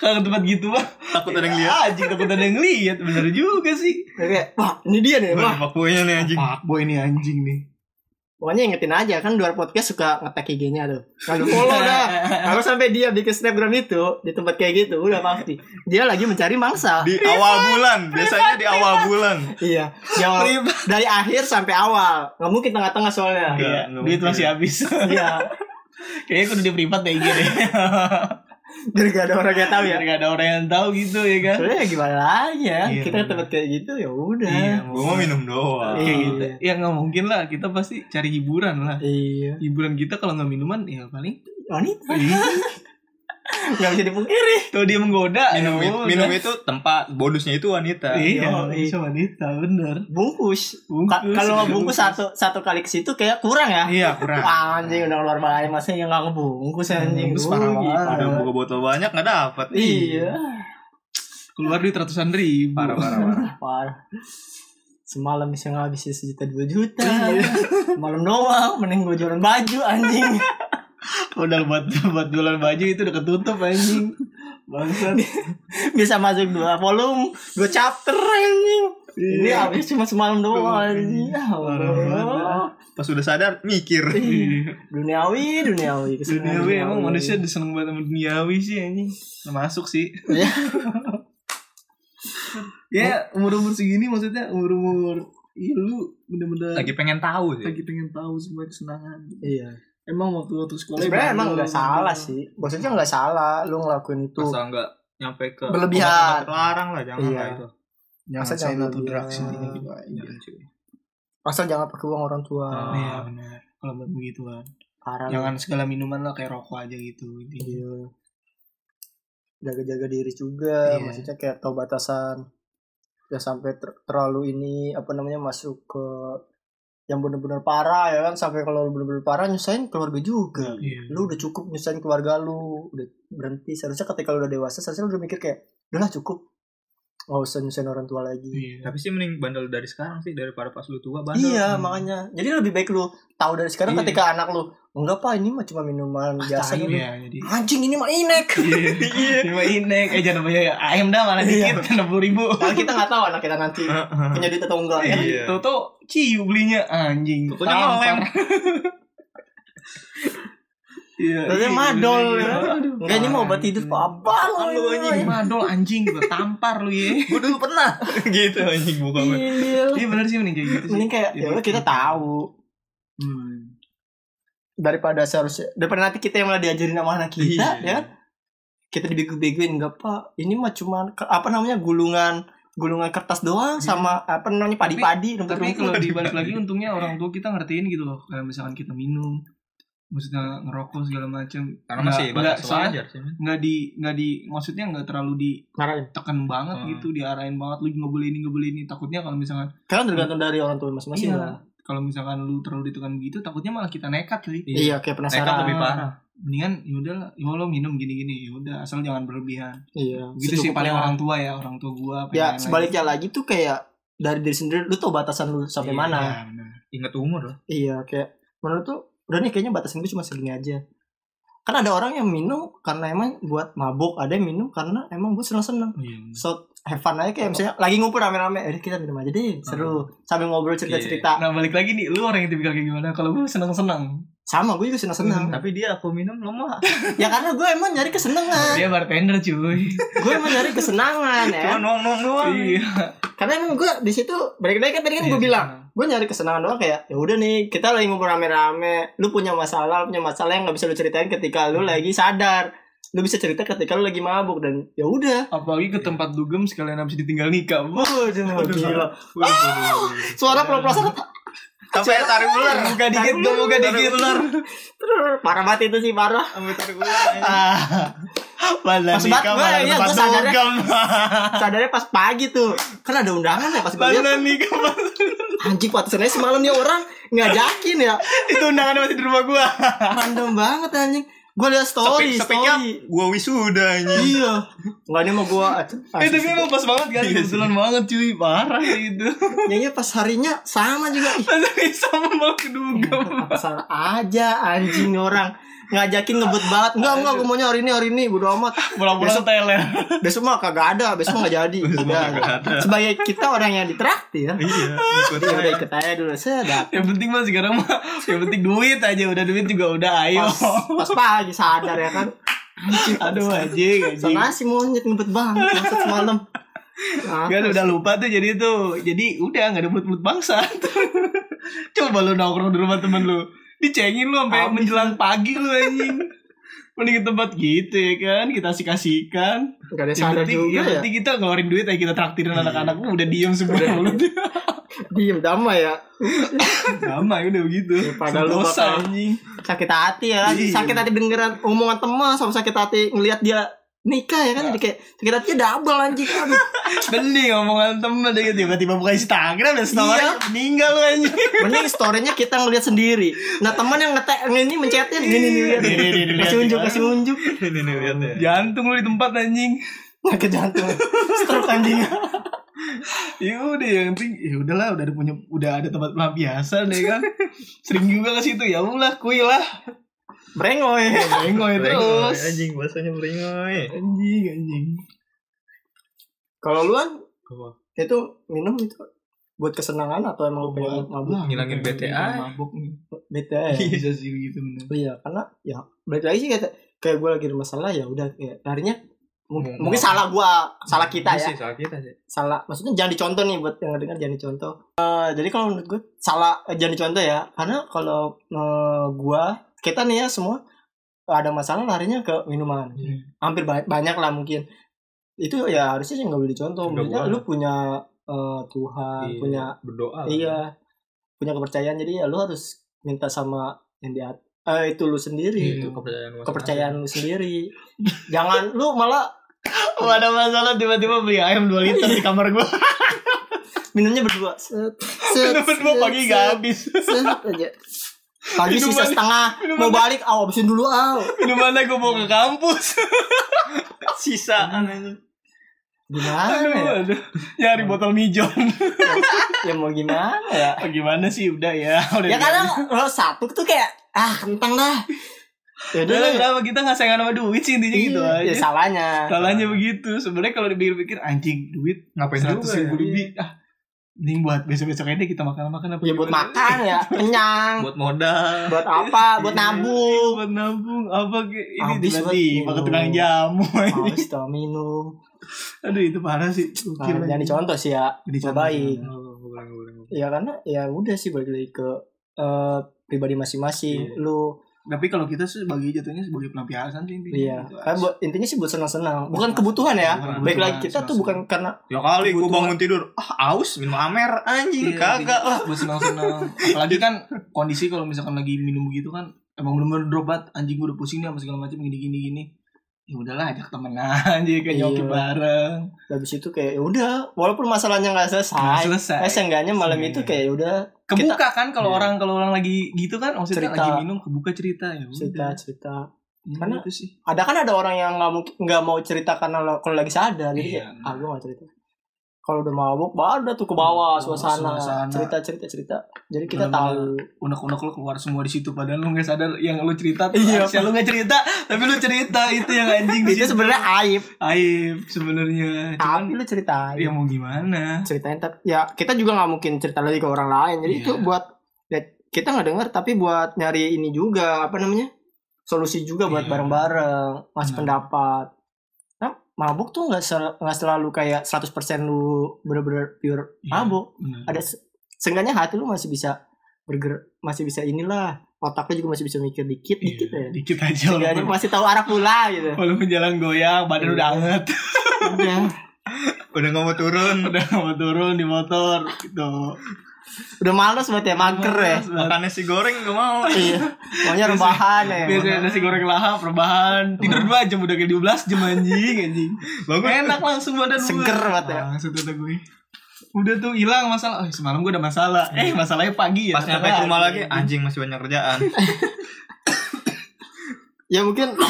Speaker 2: Kalau ke tempat gitu mah
Speaker 3: Takut ada yang lihat.
Speaker 2: Anjing takut ada yang lihat. Bener juga sih.
Speaker 1: Kayak, wah ini dia nih
Speaker 3: Wah,
Speaker 1: wah
Speaker 3: fuckboynya nih anjing.
Speaker 2: Fuckboy ini anjing nih.
Speaker 1: pokoknya ingetin aja kan luar podcast suka ngetek IG-nya tuh kalau
Speaker 2: Iya.
Speaker 1: follow dah kalau sampai dia bikin snapgram itu di tempat kayak gitu udah pasti dia lagi mencari mangsa
Speaker 3: Di awal bulan, biasanya di awal bulan.
Speaker 1: iya yang dari akhir sampai awal nggak mungkin tengah-tengah soalnya
Speaker 3: Nggak,
Speaker 2: Iya,
Speaker 3: nggak
Speaker 2: duit
Speaker 3: mungkin.
Speaker 2: masih habis.
Speaker 1: iya
Speaker 2: Kayaknya aku udah privat deh IG deh.
Speaker 1: jadi gak ada orang yang tahu ya
Speaker 2: Biar gak ada orang yang tahu gitu ya kan.
Speaker 1: soalnya ya gimana lagi ya
Speaker 2: Iya,
Speaker 1: kita ke tempat kayak gitu ya udah
Speaker 3: Gua mau minum doang.
Speaker 2: Kayak
Speaker 1: Iya.
Speaker 2: gitu. Ya nggak mungkin lah, kita pasti cari hiburan lah.
Speaker 1: iya
Speaker 2: Hiburan kita kalau nggak minuman ya paling
Speaker 1: wanita nggak bisa dipungkiri
Speaker 2: Kalau dia menggoda,
Speaker 3: minum,
Speaker 2: ya
Speaker 3: itu,
Speaker 2: udah.
Speaker 3: minum itu tempat bonusnya itu wanita.
Speaker 2: Iya,
Speaker 1: Yoi.
Speaker 2: bisa wanita, bener.
Speaker 1: bungkus Ka-
Speaker 2: Bungkus,
Speaker 1: kalau nggak
Speaker 2: iya,
Speaker 1: bungkus satu satu kali ke situ kayak kurang ya
Speaker 3: Iya, kurang.
Speaker 1: Wah, anjing udah keluar balai masa yang nggak ngebungkus anjing
Speaker 2: Ngebungkus
Speaker 1: Rugi,
Speaker 2: Hmm, parah
Speaker 3: Udah
Speaker 2: banget.
Speaker 3: buka botol banyak nggak dapet.
Speaker 1: iya
Speaker 2: Keluar duit ratusan ribu.
Speaker 3: Parah parah parah.
Speaker 1: parah semalam bisa ngabisin sejuta dua juta
Speaker 2: Iya.
Speaker 1: malam doang mending gue jualan baju anjing
Speaker 2: Modal buat buat jualan baju itu udah ketutup anjing. Bangsat.
Speaker 1: bisa masuk dua volume dua chapter anjing ini
Speaker 2: Iya.
Speaker 1: habis cuma semalam doang anjing Ya
Speaker 2: Parah
Speaker 1: Allah.
Speaker 2: banget.
Speaker 3: Pas udah sadar mikir.
Speaker 1: Iya. duniawi duniawi kesana
Speaker 2: Iya. Duniawi
Speaker 1: iya.
Speaker 2: emang manusia seneng banget sama duniawi sih anjing. Termasuk sih.
Speaker 1: Iya.
Speaker 2: ya umur-umur segini maksudnya umur-umur Iya lu bener-bener
Speaker 3: Lagi pengen tahu sih.
Speaker 2: lagi pengen tahu semua kesenangan.
Speaker 1: iya
Speaker 2: Emang waktu-waktu sekolah
Speaker 1: sebenarnya
Speaker 2: ya
Speaker 1: emang
Speaker 2: baru-
Speaker 1: nggak salah sih maksudnya nggak salah lu ngelakuin itu
Speaker 3: Masa nggak nyampe ke
Speaker 1: Berlebihan.
Speaker 3: obat-obat terlarang lah jangan
Speaker 1: Iya.
Speaker 3: lah itu.
Speaker 2: Yang
Speaker 1: Masa
Speaker 2: salah
Speaker 1: jangan
Speaker 2: tuh
Speaker 1: dia-
Speaker 2: drugs
Speaker 3: ya,
Speaker 2: intinya gitu aja.
Speaker 3: Jangan, cuy.
Speaker 1: asal jangan pakai uang orang tua
Speaker 3: Ah.
Speaker 2: Iya benar. Kalau buat begitu kan.
Speaker 1: parah
Speaker 2: Jangan segala minuman lah kayak rokok aja gitu intinya.
Speaker 1: Iya. jaga-jaga diri juga
Speaker 2: Iya.
Speaker 1: maksudnya kayak tahu batasan ya sampai ter- terlalu ini apa namanya masuk ke yang bener-bener parah ya kan sampai kalau lu bener-bener parah nyusahin keluarga juga
Speaker 2: Iya.
Speaker 1: lu udah cukup nyusahin keluarga lu udah berhenti seharusnya ketika lu udah dewasa seharusnya lu udah mikir kayak udahlah cukup nggak usah nyusahin orang tua lagi
Speaker 2: Iya.
Speaker 3: Tapi sih mending bandel dari sekarang sih daripada pas lu tua bandel.
Speaker 1: iya
Speaker 2: Hmm.
Speaker 1: makanya jadi lebih baik lu tahu dari sekarang
Speaker 2: Iya.
Speaker 1: ketika anak lu enggak pak ini mah cuma minuman biasa
Speaker 2: Tai
Speaker 3: gitu.
Speaker 1: ini
Speaker 2: ya jadi.
Speaker 1: anjing ini mah inek
Speaker 2: Iya. Cuma inek aja namanya ya. ayam dah malah
Speaker 1: Iya.
Speaker 2: dikit enam puluh ribu.
Speaker 1: Padahal kita nggak tahu anak kita nanti punya duit atau enggak ya kan?
Speaker 3: Iya.
Speaker 2: Tuh tuh ciu belinya anjing.
Speaker 3: Pokoknya
Speaker 2: Tampar.
Speaker 3: ngelem.
Speaker 2: Iya.
Speaker 1: Ternyata
Speaker 2: iya,
Speaker 1: madol,
Speaker 2: iya.
Speaker 1: ya.
Speaker 2: Aduh,
Speaker 1: enggak ini mau obat
Speaker 2: anjing.
Speaker 1: tidur pak abang
Speaker 2: Apaan Lu anjing madol anjing gua tampar lu ya.
Speaker 3: Gue dulu pernah gitu anjing buka gue.
Speaker 1: iya
Speaker 2: Iya benar sih mending kayak gitu sih.
Speaker 1: mending kayak ya udah kita tahu
Speaker 2: Hmm.
Speaker 1: daripada seharusnya daripada nanti kita yang malah diajarin sama anak
Speaker 3: Iya.
Speaker 1: kita
Speaker 2: Iya.
Speaker 1: ya kan kita dibego-begoin enggak pak ini mah cuma ke- apa namanya gulungan gulungan kertas doang sama apa namanya padi-padi
Speaker 2: Iya. tapi
Speaker 1: rumput-rumput
Speaker 2: kalau dibalik lagi untungnya orang tua kita ngertiin gitu loh kayak misalkan kita minum maksudnya ngerokok segala macam
Speaker 3: Karena masih
Speaker 2: nggak
Speaker 3: batas
Speaker 2: soalnya
Speaker 3: wajar sih. men.
Speaker 2: nggak di nggak di maksudnya nggak terlalu
Speaker 1: Ngarahin.
Speaker 2: ditekan banget
Speaker 3: Hmm.
Speaker 2: gitu diarahin banget lu nggak boleh ini nggak boleh ini takutnya kalau misalkan
Speaker 1: Karena tergantung dari orang tua masing-masing kan?
Speaker 2: Iya.
Speaker 1: lah.
Speaker 2: kalau misalkan lu terlalu ditekan gitu takutnya malah kita nekat sih
Speaker 1: Iya, kayak penasaran.
Speaker 3: Nekat lebih parah.
Speaker 2: mendingan yaudah lah ya lo minum gini gini yaudah asal jangan berlebihan
Speaker 1: Iya.
Speaker 2: gitu sih
Speaker 1: secukupnya.
Speaker 2: paling orang tua ya orang tua gua
Speaker 1: Ya,
Speaker 2: apa yang lain.
Speaker 1: sebaliknya lagi tuh kayak dari diri sendiri lu tau batasan lu sampai
Speaker 2: Iya,
Speaker 1: mana.
Speaker 2: benar.
Speaker 3: Ingat umur lah.
Speaker 1: Iya, kayak menurut tuh udah nih kayaknya batasan gue cuma segini aja. Kan ada orang yang minum karena emang buat mabuk, ada yang minum karena emang buat seneng-seneng.
Speaker 2: Iya, benar.
Speaker 1: So, have fun aja kayak misalnya lagi ngumpul rame-rame, eh kita minum aja deh, seru. Sambil ngobrol cerita-cerita.
Speaker 2: Nah balik lagi nih, lu orang yang tipikal kayak gimana? Kalau gue seneng-seneng
Speaker 1: Sama, gue juga seneng-seneng.
Speaker 2: Hmm.
Speaker 3: Tapi dia aku minum lemah.
Speaker 1: ya karena gue emang nyari kesenangan.
Speaker 2: Dia bartender cuy
Speaker 1: gue emang nyari kesenangan ya.
Speaker 3: Cuma nong nong doang.
Speaker 2: Iya
Speaker 1: Karena emang gue di situ balik lagi kan tadi kan gue bilang gue nyari kesenangan doang kayak ya udah nih kita lagi ngumpul rame-rame lu punya masalah lu punya masalah yang nggak bisa lu ceritain ketika
Speaker 2: Hmm.
Speaker 1: lu lagi sadar lu bisa cerita ketika lu lagi mabuk dan ya udah
Speaker 2: Apalagi ke tempat dugem sekalian habis ditinggal nikah
Speaker 1: Waduh, gila.
Speaker 3: Waduh, waduh, waduh.
Speaker 1: suara pelan-pelan
Speaker 3: Sampai tarik ular.
Speaker 2: Buka dikit,
Speaker 3: Tarik
Speaker 2: buka
Speaker 3: ular.
Speaker 2: dikit.
Speaker 3: Tarik ular.
Speaker 1: parah banget itu sih parah
Speaker 3: Sampai tarik ular. anjing.
Speaker 2: Malah
Speaker 1: Pas banget
Speaker 2: nikah
Speaker 1: gua,
Speaker 2: malah ke
Speaker 1: iya,
Speaker 2: tempat
Speaker 1: gua sadarnya.
Speaker 2: dugem
Speaker 1: sadarnya pas pagi tuh kan ada undangan ya pas gue liat
Speaker 2: Malah nikah Mas.
Speaker 1: anjing patusannya semalam nih orang ngajakin ya
Speaker 2: Itu undangan masih di rumah gue
Speaker 1: random banget anjing gue liat story
Speaker 3: Speak- speak up.
Speaker 1: story
Speaker 3: Gua wisuda anjing.
Speaker 1: iya nggak ini mau gue
Speaker 2: Eh tapi emang pas banget kan
Speaker 3: Iya sih.
Speaker 2: Kebetulan banget cuy Parah itu
Speaker 1: nyanyi pas harinya sama juga Ih,
Speaker 2: Masih sama mau ke
Speaker 1: Iya.
Speaker 2: dugem
Speaker 1: Asal aja anjing orang ngajakin ngebut banget enggak enggak gue maunya hari ini hari ini bodo amat
Speaker 2: Pulang-pulang teler
Speaker 1: besok mah kagak ada besok mah nggak jadi
Speaker 3: Besok mah kagak ada.
Speaker 1: Udah. sebagai kita orang yang ditraktir
Speaker 3: Iya. ikut
Speaker 1: ya udah
Speaker 3: aja.
Speaker 1: ikut aja dulu sedap
Speaker 2: Yang penting mas sekarang mah Yang penting duit aja Udah duit juga udah ayo
Speaker 1: pas, pas pagi sadar ya kan anjing
Speaker 2: Aduh anjing anjing
Speaker 1: sana si monyet ngebut banget maksud semalam Nah,
Speaker 2: Kan udah lupa tuh jadi itu Jadi udah gak ada mulut-mulut bangsa Coba lu nongkrong di rumah temen lu Dicengin lu sampai
Speaker 1: Habis.
Speaker 2: menjelang pagi lu anjing Mending ke tempat gitu ya kan Kita asik-asikan
Speaker 1: nggak ada
Speaker 2: Yang
Speaker 1: sadar
Speaker 2: Iya, penting,
Speaker 1: juga ya
Speaker 2: yang
Speaker 1: Iya.
Speaker 2: penting kita ngeluarin duit aja Kita traktirin anak-anak Udah diem semua
Speaker 1: Udah.
Speaker 2: mulut
Speaker 1: diem damai ya
Speaker 2: Sama ya udah begitu.
Speaker 1: Daripada Ya, lu
Speaker 2: Sentosa,
Speaker 1: bakal-
Speaker 2: anjing.
Speaker 1: sakit hati ya lagi
Speaker 2: Iya.
Speaker 1: sakit hati dengeran omongan teman sama sakit hati ngelihat dia nikah ya kan jadi kayak sakit hatinya double anjing Aduh.
Speaker 2: Beli ngomongan temen deh tiba-tiba buka Instagram dan story
Speaker 1: Iya.
Speaker 2: meninggal lu anjing.
Speaker 1: mending storynya kita ngelihat sendiri nah teman yang ngetek ini mencetin ini ini lihat
Speaker 2: Ini, ini, ini,
Speaker 1: kasih
Speaker 2: lihat,
Speaker 1: unjuk
Speaker 2: ya.
Speaker 1: kasih unjuk
Speaker 3: Ini nih lihat
Speaker 1: Iya.
Speaker 3: ya.
Speaker 2: Jantung lu di tempat anjing.
Speaker 1: sakit jantung stroke anjing
Speaker 2: Ya udah yang penting ya udahlah udah ada punya udah ada tempat pelampiasan deh kan. Sering juga ke situ ya ulah kuy lah.
Speaker 1: brengoy
Speaker 2: Bengoy
Speaker 3: Beringoy,
Speaker 2: terus.
Speaker 3: Anjing bahasanya beringoy.
Speaker 2: Anjing anjing.
Speaker 1: kalau luan
Speaker 3: Apa?
Speaker 1: itu minum itu buat kesenangan atau emang pengen
Speaker 2: Nah.
Speaker 1: mabuk
Speaker 3: Ngilangin BTA.
Speaker 2: Mabok nih.
Speaker 1: beda ya
Speaker 2: Bisa sih gitu bener.
Speaker 1: iya karena ya balik lagi sih kayak kayak gue lagi ada masalah ya udah kayak larinya mungkin,
Speaker 2: Iya,
Speaker 3: Ngomong.
Speaker 2: nah.
Speaker 1: mungkin salah gue salah kita
Speaker 3: Iya
Speaker 1: ya
Speaker 3: sih, salah kita sih.
Speaker 1: salah maksudnya jangan dicontoh nih buat yang dengar jangan dicontoh Eh, jadi kalau menurut gue salah eh, jangan dicontoh ya karena kalau eh, gua kita nih ya semua ada masalah larinya ke minuman
Speaker 3: Iya.
Speaker 1: hampir ba- banyak lah mungkin itu ya harusnya sih nggak boleh dicontoh
Speaker 3: Nggak
Speaker 1: maksudnya
Speaker 3: boleh.
Speaker 1: lu punya eh, Tuhan
Speaker 3: Iya,
Speaker 1: punya
Speaker 3: berdoa. lah.
Speaker 1: iya punya kepercayaan jadi ya lu harus minta sama yang di at- eh, itu lu sendiri
Speaker 3: Iya, Itu kepercayaan masing-masing.
Speaker 1: kepercayaan lu sendiri jangan lu malah
Speaker 2: Kalau ada masalah tiba-tiba beli ayam 2 liter di kamar gua.
Speaker 1: minumnya berdua set set
Speaker 2: Tiba-tiba
Speaker 1: set,
Speaker 2: pagi
Speaker 1: set.
Speaker 2: gak habis.
Speaker 1: Set aja. Pagi
Speaker 2: Minum
Speaker 1: sisa
Speaker 2: balik.
Speaker 1: setengah.
Speaker 2: Minum
Speaker 1: Mau balik, aw abisin dulu aw.
Speaker 2: Dimana gua mau ke kampus. Sisaan aja. Aduh,
Speaker 1: Gimana ya?
Speaker 2: aduh. Nyari botol mijon.
Speaker 1: Ya mau gimana ya?
Speaker 2: Ah, Gimana sih udah ya. Udah
Speaker 1: Ya
Speaker 2: ya
Speaker 1: kadang lo satu tuh kayak ah kentang dah. Ya udah lah,
Speaker 2: kenapa kita nggak sayang sama duit sih intinya gitu
Speaker 1: iya. Ya
Speaker 2: aja.
Speaker 1: salahnya.
Speaker 2: Salahnya begitu. Sebenarnya kalau dipikir-pikir anjing duit
Speaker 3: Ngapain
Speaker 2: seratus
Speaker 3: juga
Speaker 2: ribu
Speaker 3: ya?
Speaker 2: lebih. Ah, mending buat besok-besok aja deh kita makan-makan apa
Speaker 1: Ya Iya. buat
Speaker 2: gimana.
Speaker 1: makan ya, kenyang.
Speaker 3: Buat modal.
Speaker 1: Buat apa? Buat
Speaker 2: Iya,
Speaker 1: nabung.
Speaker 2: buat nabung apa ke ini
Speaker 1: Habis
Speaker 2: tiba-tiba
Speaker 1: buat
Speaker 2: ke tukang
Speaker 1: minum.
Speaker 2: jamu anjing.
Speaker 1: Harus tau minum.
Speaker 2: aduh itu parah sih
Speaker 1: Nah,
Speaker 2: Gokil,
Speaker 1: jangan
Speaker 2: anjing.
Speaker 1: dicontoh sih ya.
Speaker 2: Jadi contoh.
Speaker 1: Baik.
Speaker 3: Oh, ulang, ulang, ulang.
Speaker 1: Ya karena ya udah sih balik lagi ke eh, pribadi masing-masing.
Speaker 3: Iya.
Speaker 1: Lu
Speaker 2: tapi kalau kita sih sebagai jatuhnya sebagai pelampiasan sih intinya
Speaker 1: Iya,
Speaker 2: Gitu.
Speaker 1: kan buat intinya sih buat senang-senang, bukan kebutuhan ya.
Speaker 2: Bukan
Speaker 1: Baik
Speaker 2: kebutuhan,
Speaker 1: lagi kita tuh
Speaker 2: senang-senang.
Speaker 1: bukan karena
Speaker 3: Ya kali gua
Speaker 1: Kebutuhan.
Speaker 3: bangun tidur, ah aus minum amer
Speaker 2: Iya,
Speaker 3: anjing kagak
Speaker 2: intinya
Speaker 3: lah.
Speaker 2: buat senang-senang apalagi kan kondisi kalau misalkan lagi minum begitu kan emang bener-bener drobat anjing gue udah pusing nih sama segala macam gini gini gini ya udahlah ajak temen aja kayak
Speaker 1: Iya.
Speaker 2: nyoki bareng
Speaker 1: habis itu kayak ya udah, walaupun masalahnya nggak
Speaker 2: Nah,
Speaker 1: selesai,
Speaker 2: selesai
Speaker 1: eh seenggaknya malam
Speaker 3: Seenggaknya.
Speaker 1: itu kayak ya udah
Speaker 2: kebuka kan kalau
Speaker 3: Iya.
Speaker 2: orang kalau orang lagi gitu kan maksudnya
Speaker 1: Cerita.
Speaker 2: lagi minum kebuka cerita ya udah
Speaker 1: cerita-cerita.
Speaker 2: Iya,
Speaker 1: Karena-
Speaker 2: itu sih
Speaker 1: Ada kan ada orang yang nggak mungkin nggak mau cerita karena lo- kalau lagi sadar, jadi
Speaker 2: Iya.
Speaker 1: kayak ah gue nggak cerita. Kalau udah mabuk, baru dah tuh ke bawah
Speaker 2: Bawah
Speaker 1: suasana,
Speaker 2: suasana.
Speaker 1: cerita-cerita-cerita. Jadi kita tahu.
Speaker 2: Bener-bener. unek-unek lu keluar semua di situ padahal lu nggak sadar yang lu cerita tuh
Speaker 1: Iya.
Speaker 2: harusnya lu nggak cerita tapi lu cerita itu yang anjing di
Speaker 1: Itu
Speaker 2: situ.
Speaker 1: sebenarnya aib,
Speaker 2: aib sebenarnya cuman
Speaker 1: tapi lu ceritain.
Speaker 2: ya mau gimana
Speaker 1: ceritain tapi ya kita juga nggak mungkin cerita lagi ke orang lain jadi
Speaker 2: Iya.
Speaker 1: itu buat ya, kita nggak dengar tapi buat nyari ini juga apa namanya solusi juga buat
Speaker 2: Iya.
Speaker 1: bareng-bareng ngasih
Speaker 2: Benar.
Speaker 1: pendapat nah mabuk tuh nggak sel- nggak selalu kayak 100% lu bener-bener pure
Speaker 2: Iya.
Speaker 1: mabuk
Speaker 2: Bener.
Speaker 1: ada se- seenggaknya hati lu masih bisa berger masih bisa inilah otak lu juga masih bisa mikir dikit
Speaker 2: Iya,
Speaker 1: dikit ya
Speaker 2: dikit aja
Speaker 1: Seenggaknya
Speaker 2: walaupun,
Speaker 1: masih tahu arah pula gitu
Speaker 2: walaupun jalan goyang badan
Speaker 1: Iya.
Speaker 2: udah anget Iya.
Speaker 1: udah
Speaker 3: Udah nggak mau turun.
Speaker 2: udah mau turun di motor gitu
Speaker 1: udah males banget ya mager ya
Speaker 2: Males banget.
Speaker 3: Makannya si goreng gak mau.
Speaker 1: iya maunya rebahan ya
Speaker 2: biasanya nasi goreng lahap
Speaker 1: Iya.
Speaker 2: rebahan tidur dua jam udah kayak 12 jam anjing anjing
Speaker 3: Bagus.
Speaker 2: enak langsung badan gue.
Speaker 1: Seger banget ya.
Speaker 2: langsung tuh Ah, gue udah tuh hilang masalah oh, semalam gue ada masalah
Speaker 1: Iya.
Speaker 2: eh masalahnya pagi ya
Speaker 3: Pas nyampe ke rumah lagi anjing masih banyak kerjaan.
Speaker 1: ya mungkin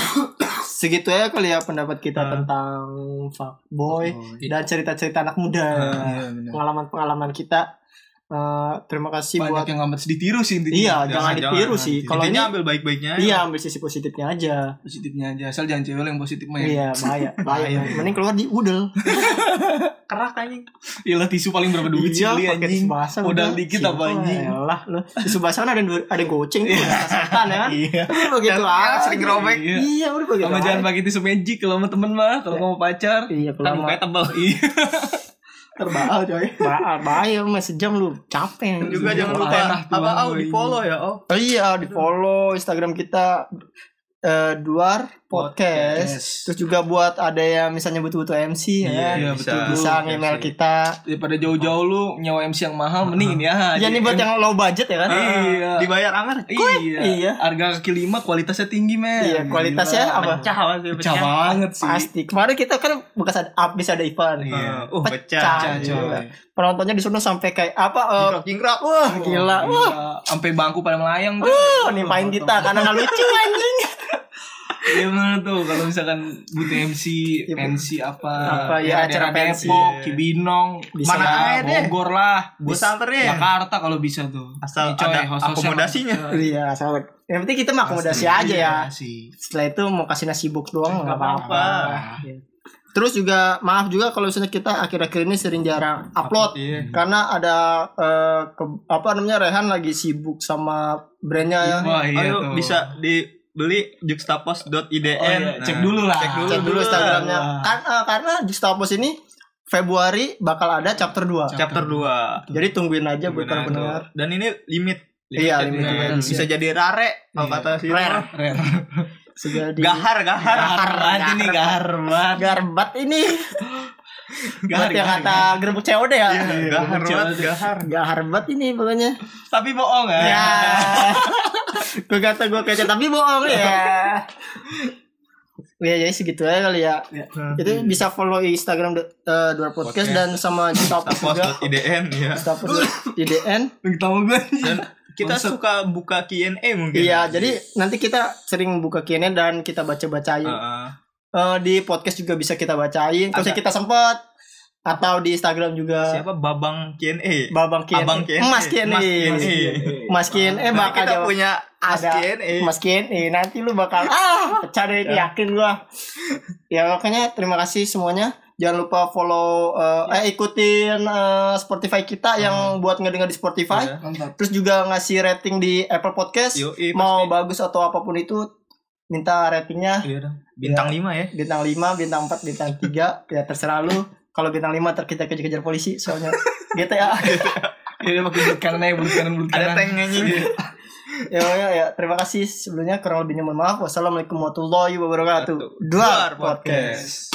Speaker 1: segitu ya kali ya pendapat kita
Speaker 3: Ah.
Speaker 1: tentang
Speaker 2: Oh, iya.
Speaker 1: fuckboy dan cerita-cerita anak muda
Speaker 2: eh, Ah.
Speaker 1: iya, pengalaman-pengalaman kita Eh, terima kasih
Speaker 2: banyak
Speaker 1: buat
Speaker 2: yang amat sedih tiru sih intinya
Speaker 1: iya
Speaker 3: jangan,
Speaker 1: jangan, ditiru
Speaker 3: jangan.
Speaker 1: sih kalau ini
Speaker 3: Intinya ambil baik-baiknya.
Speaker 1: iya ambil sisi positifnya aja
Speaker 2: positifnya aja asal jangan cewek yang positif mah ya
Speaker 1: iya bahaya bahaya mending keluar di udel
Speaker 3: Kerak anjing.
Speaker 2: Iyalah Iya tisu paling berapa duit sih
Speaker 1: iya
Speaker 2: beli
Speaker 1: pakai
Speaker 2: anjing
Speaker 1: tisu basah
Speaker 2: modal
Speaker 1: udah.
Speaker 2: dikit apa
Speaker 1: Simpel,
Speaker 2: anjing
Speaker 1: elah lu tisu basah kan ada yang- ada yang goceng tuh setan ya kan
Speaker 2: iya
Speaker 1: Udah begitu aja.
Speaker 3: sering robek.
Speaker 2: Iya.
Speaker 1: iya udah begitu
Speaker 2: sama jangan
Speaker 1: aja.
Speaker 2: pakai tisu magic kalau sama temen mah kalau mau pacar
Speaker 1: iya keluar
Speaker 3: Ntar Kan mukanya tebel.
Speaker 2: iya
Speaker 1: terbaal coy baal bahaya lu masih jam lu capek
Speaker 3: Juga
Speaker 2: Iya.
Speaker 3: jangan
Speaker 2: Wah,
Speaker 3: lupa
Speaker 2: enak tuh,
Speaker 3: apa au
Speaker 2: anjing.
Speaker 3: di follow ya, oh.
Speaker 1: Oh iya, di follow Instagram kita eh, Duar
Speaker 3: Podcast.
Speaker 1: Podcast. Terus juga buat ada yang misalnya butuh-butuh MC ya.
Speaker 2: Iya,
Speaker 3: bisa.
Speaker 2: betul.
Speaker 1: Bisa
Speaker 3: Betul,
Speaker 1: email
Speaker 3: MC.
Speaker 1: kita.
Speaker 2: daripada jauh-jauh lu nyawa MC yang mahal mending ini ya.
Speaker 1: Ya nih buat yang low budget ya kan.
Speaker 2: Iya.
Speaker 3: Dibayar angker.
Speaker 2: Iya.
Speaker 1: Iya.
Speaker 2: Harga kaki lima kualitasnya tinggi, men.
Speaker 1: Iya, kualitasnya
Speaker 2: Gila.
Speaker 1: apa?
Speaker 4: Pecah pasti
Speaker 2: Pecah banget sih.
Speaker 1: Pasti. Kemarin kita kan bekas ada habis ada event.
Speaker 2: Iya.
Speaker 3: Uh, pecah.
Speaker 1: Pecah, iya.
Speaker 2: Pecah, coy.
Speaker 1: Penontonnya di sana sampai kayak apa? eh,
Speaker 3: Jingkrak,
Speaker 1: wah, gila. Wah,
Speaker 2: Gila. Sampai bangku pada melayang tuh.
Speaker 1: Oh, nimpain kita karena nggak lucu anjing.
Speaker 2: Iya bener tuh kalau misalkan butuh MC,
Speaker 1: Iya, Bu.
Speaker 2: pensi apa,
Speaker 1: Apa, ya, acara
Speaker 2: daerah
Speaker 1: pensi.
Speaker 2: Depok, Cibinong,
Speaker 1: Bisa
Speaker 2: mana
Speaker 3: lah.
Speaker 2: aja deh. Bogor lah,
Speaker 3: Gua santerin.
Speaker 2: Jakarta kalau bisa tuh.
Speaker 3: ya,
Speaker 2: Ya kan,
Speaker 3: Asal
Speaker 2: Coy,
Speaker 3: ada
Speaker 2: host-hostnya
Speaker 3: akomodasinya.
Speaker 2: mantep.
Speaker 1: Iya, sahabat. Yang penting kita mah akomodasi
Speaker 2: Pasti.
Speaker 1: aja ya.
Speaker 2: Iya sih.
Speaker 1: Setelah itu mau kasihnya sibuk doang nggak
Speaker 3: Nggak
Speaker 1: apa-apa. Iya.
Speaker 3: apa-apa.
Speaker 2: Ah,
Speaker 1: Terus juga maaf juga kalau misalnya kita akhir-akhir ini sering jarang upload
Speaker 3: Iya.
Speaker 1: karena ada eh, ke- apa namanya Rehan lagi sibuk sama brandnya ya.
Speaker 2: Wah, iya
Speaker 3: Ayo
Speaker 2: tuh.
Speaker 3: Oh, bisa dibeli juxtapos.idn.
Speaker 2: Oh, iya. Cek
Speaker 3: Nah,
Speaker 2: dulu lah.
Speaker 3: Cek dulu.
Speaker 1: Cek dulu Instagramnya.
Speaker 2: Wah.
Speaker 1: Kan, eh, karena Justapos ini Februari bakal ada chapter 2.
Speaker 3: Chapter 2.
Speaker 1: Jadi tungguin aja buat para pendengar.
Speaker 3: Dan ini limit.
Speaker 1: Iya,
Speaker 3: Jadi
Speaker 1: limit
Speaker 2: edition.
Speaker 3: Bisa jadi rare kalau
Speaker 2: Iya.
Speaker 3: kata si
Speaker 1: Rare.
Speaker 2: Ren.
Speaker 1: Segala
Speaker 3: Gahar, gahar.
Speaker 2: Gahar aja nih, gahar banget.
Speaker 1: garbat ini. Buat yang
Speaker 2: gahar,
Speaker 1: kata gerbuk COD ya.
Speaker 3: Iya, Gahar
Speaker 2: Kecil
Speaker 3: banget,
Speaker 2: aja.
Speaker 3: gahar.
Speaker 1: Gahar banget ini pokoknya.
Speaker 2: Tapi bohong ya.
Speaker 1: Ya. gue kata gue kece tapi bohong ya. Ya jadi segitu aja kali ya. Itu
Speaker 2: Hmm.
Speaker 1: bisa follow Instagram eh, Dua Podcast
Speaker 3: Podcast.
Speaker 1: dan sama Stop juga.
Speaker 3: Juxtapos.idn ya.
Speaker 1: Stop di DN.
Speaker 2: Tahu gue.
Speaker 3: Dan kita suka buka Q&A mungkin.
Speaker 1: Iya, jadi nanti kita sering buka Q&A dan kita baca-bacain.
Speaker 3: Heeh.
Speaker 1: Eh, di podcast juga bisa kita bacain. Kalau
Speaker 3: Ah. Ada.
Speaker 1: kita sempat atau di Instagram juga
Speaker 3: siapa Babang Q&A?
Speaker 1: Babang Q&A.
Speaker 3: Abang Q&A.
Speaker 1: Mas
Speaker 3: Mas
Speaker 1: Q&A.
Speaker 3: Q&A.
Speaker 1: Mas Q&A
Speaker 3: Nanti
Speaker 1: bakal
Speaker 3: Nah, kita
Speaker 1: jawab-
Speaker 3: punya As
Speaker 1: eh, ada
Speaker 3: Q&A.
Speaker 1: Mas Q&A eh, nanti lu bakal ah pecah deh ini yakin gua. Ya makanya terima kasih semuanya. Jangan lupa follow eh, eh ikutin eh, Spotify kita
Speaker 3: Hmm.
Speaker 1: yang buat ngedengar di Spotify.
Speaker 3: Iya.
Speaker 2: Mantap.
Speaker 1: Terus juga ngasih rating di Apple Podcast.
Speaker 3: Yoi,
Speaker 1: Mau
Speaker 3: pasti.
Speaker 1: bagus atau apapun itu minta ratingnya
Speaker 3: Iya dong. Bintang 5 ya.
Speaker 1: bintang 5, bintang 4, bintang 3 ya terserah lu. Kalau bintang 5 ntar kita kejar-kejar polisi soalnya gitu GTA.
Speaker 2: Ya udah pakai bulut kanan aja, bulut kanan, bulut kanan.
Speaker 3: Ada tank anjing.
Speaker 1: ya, ya, ya, terima kasih sebelumnya kurang lebihnya mohon maaf. Wassalamualaikum warahmatullahi wabarakatuh. Duar
Speaker 3: Duar
Speaker 1: Podcast.
Speaker 3: Podcast.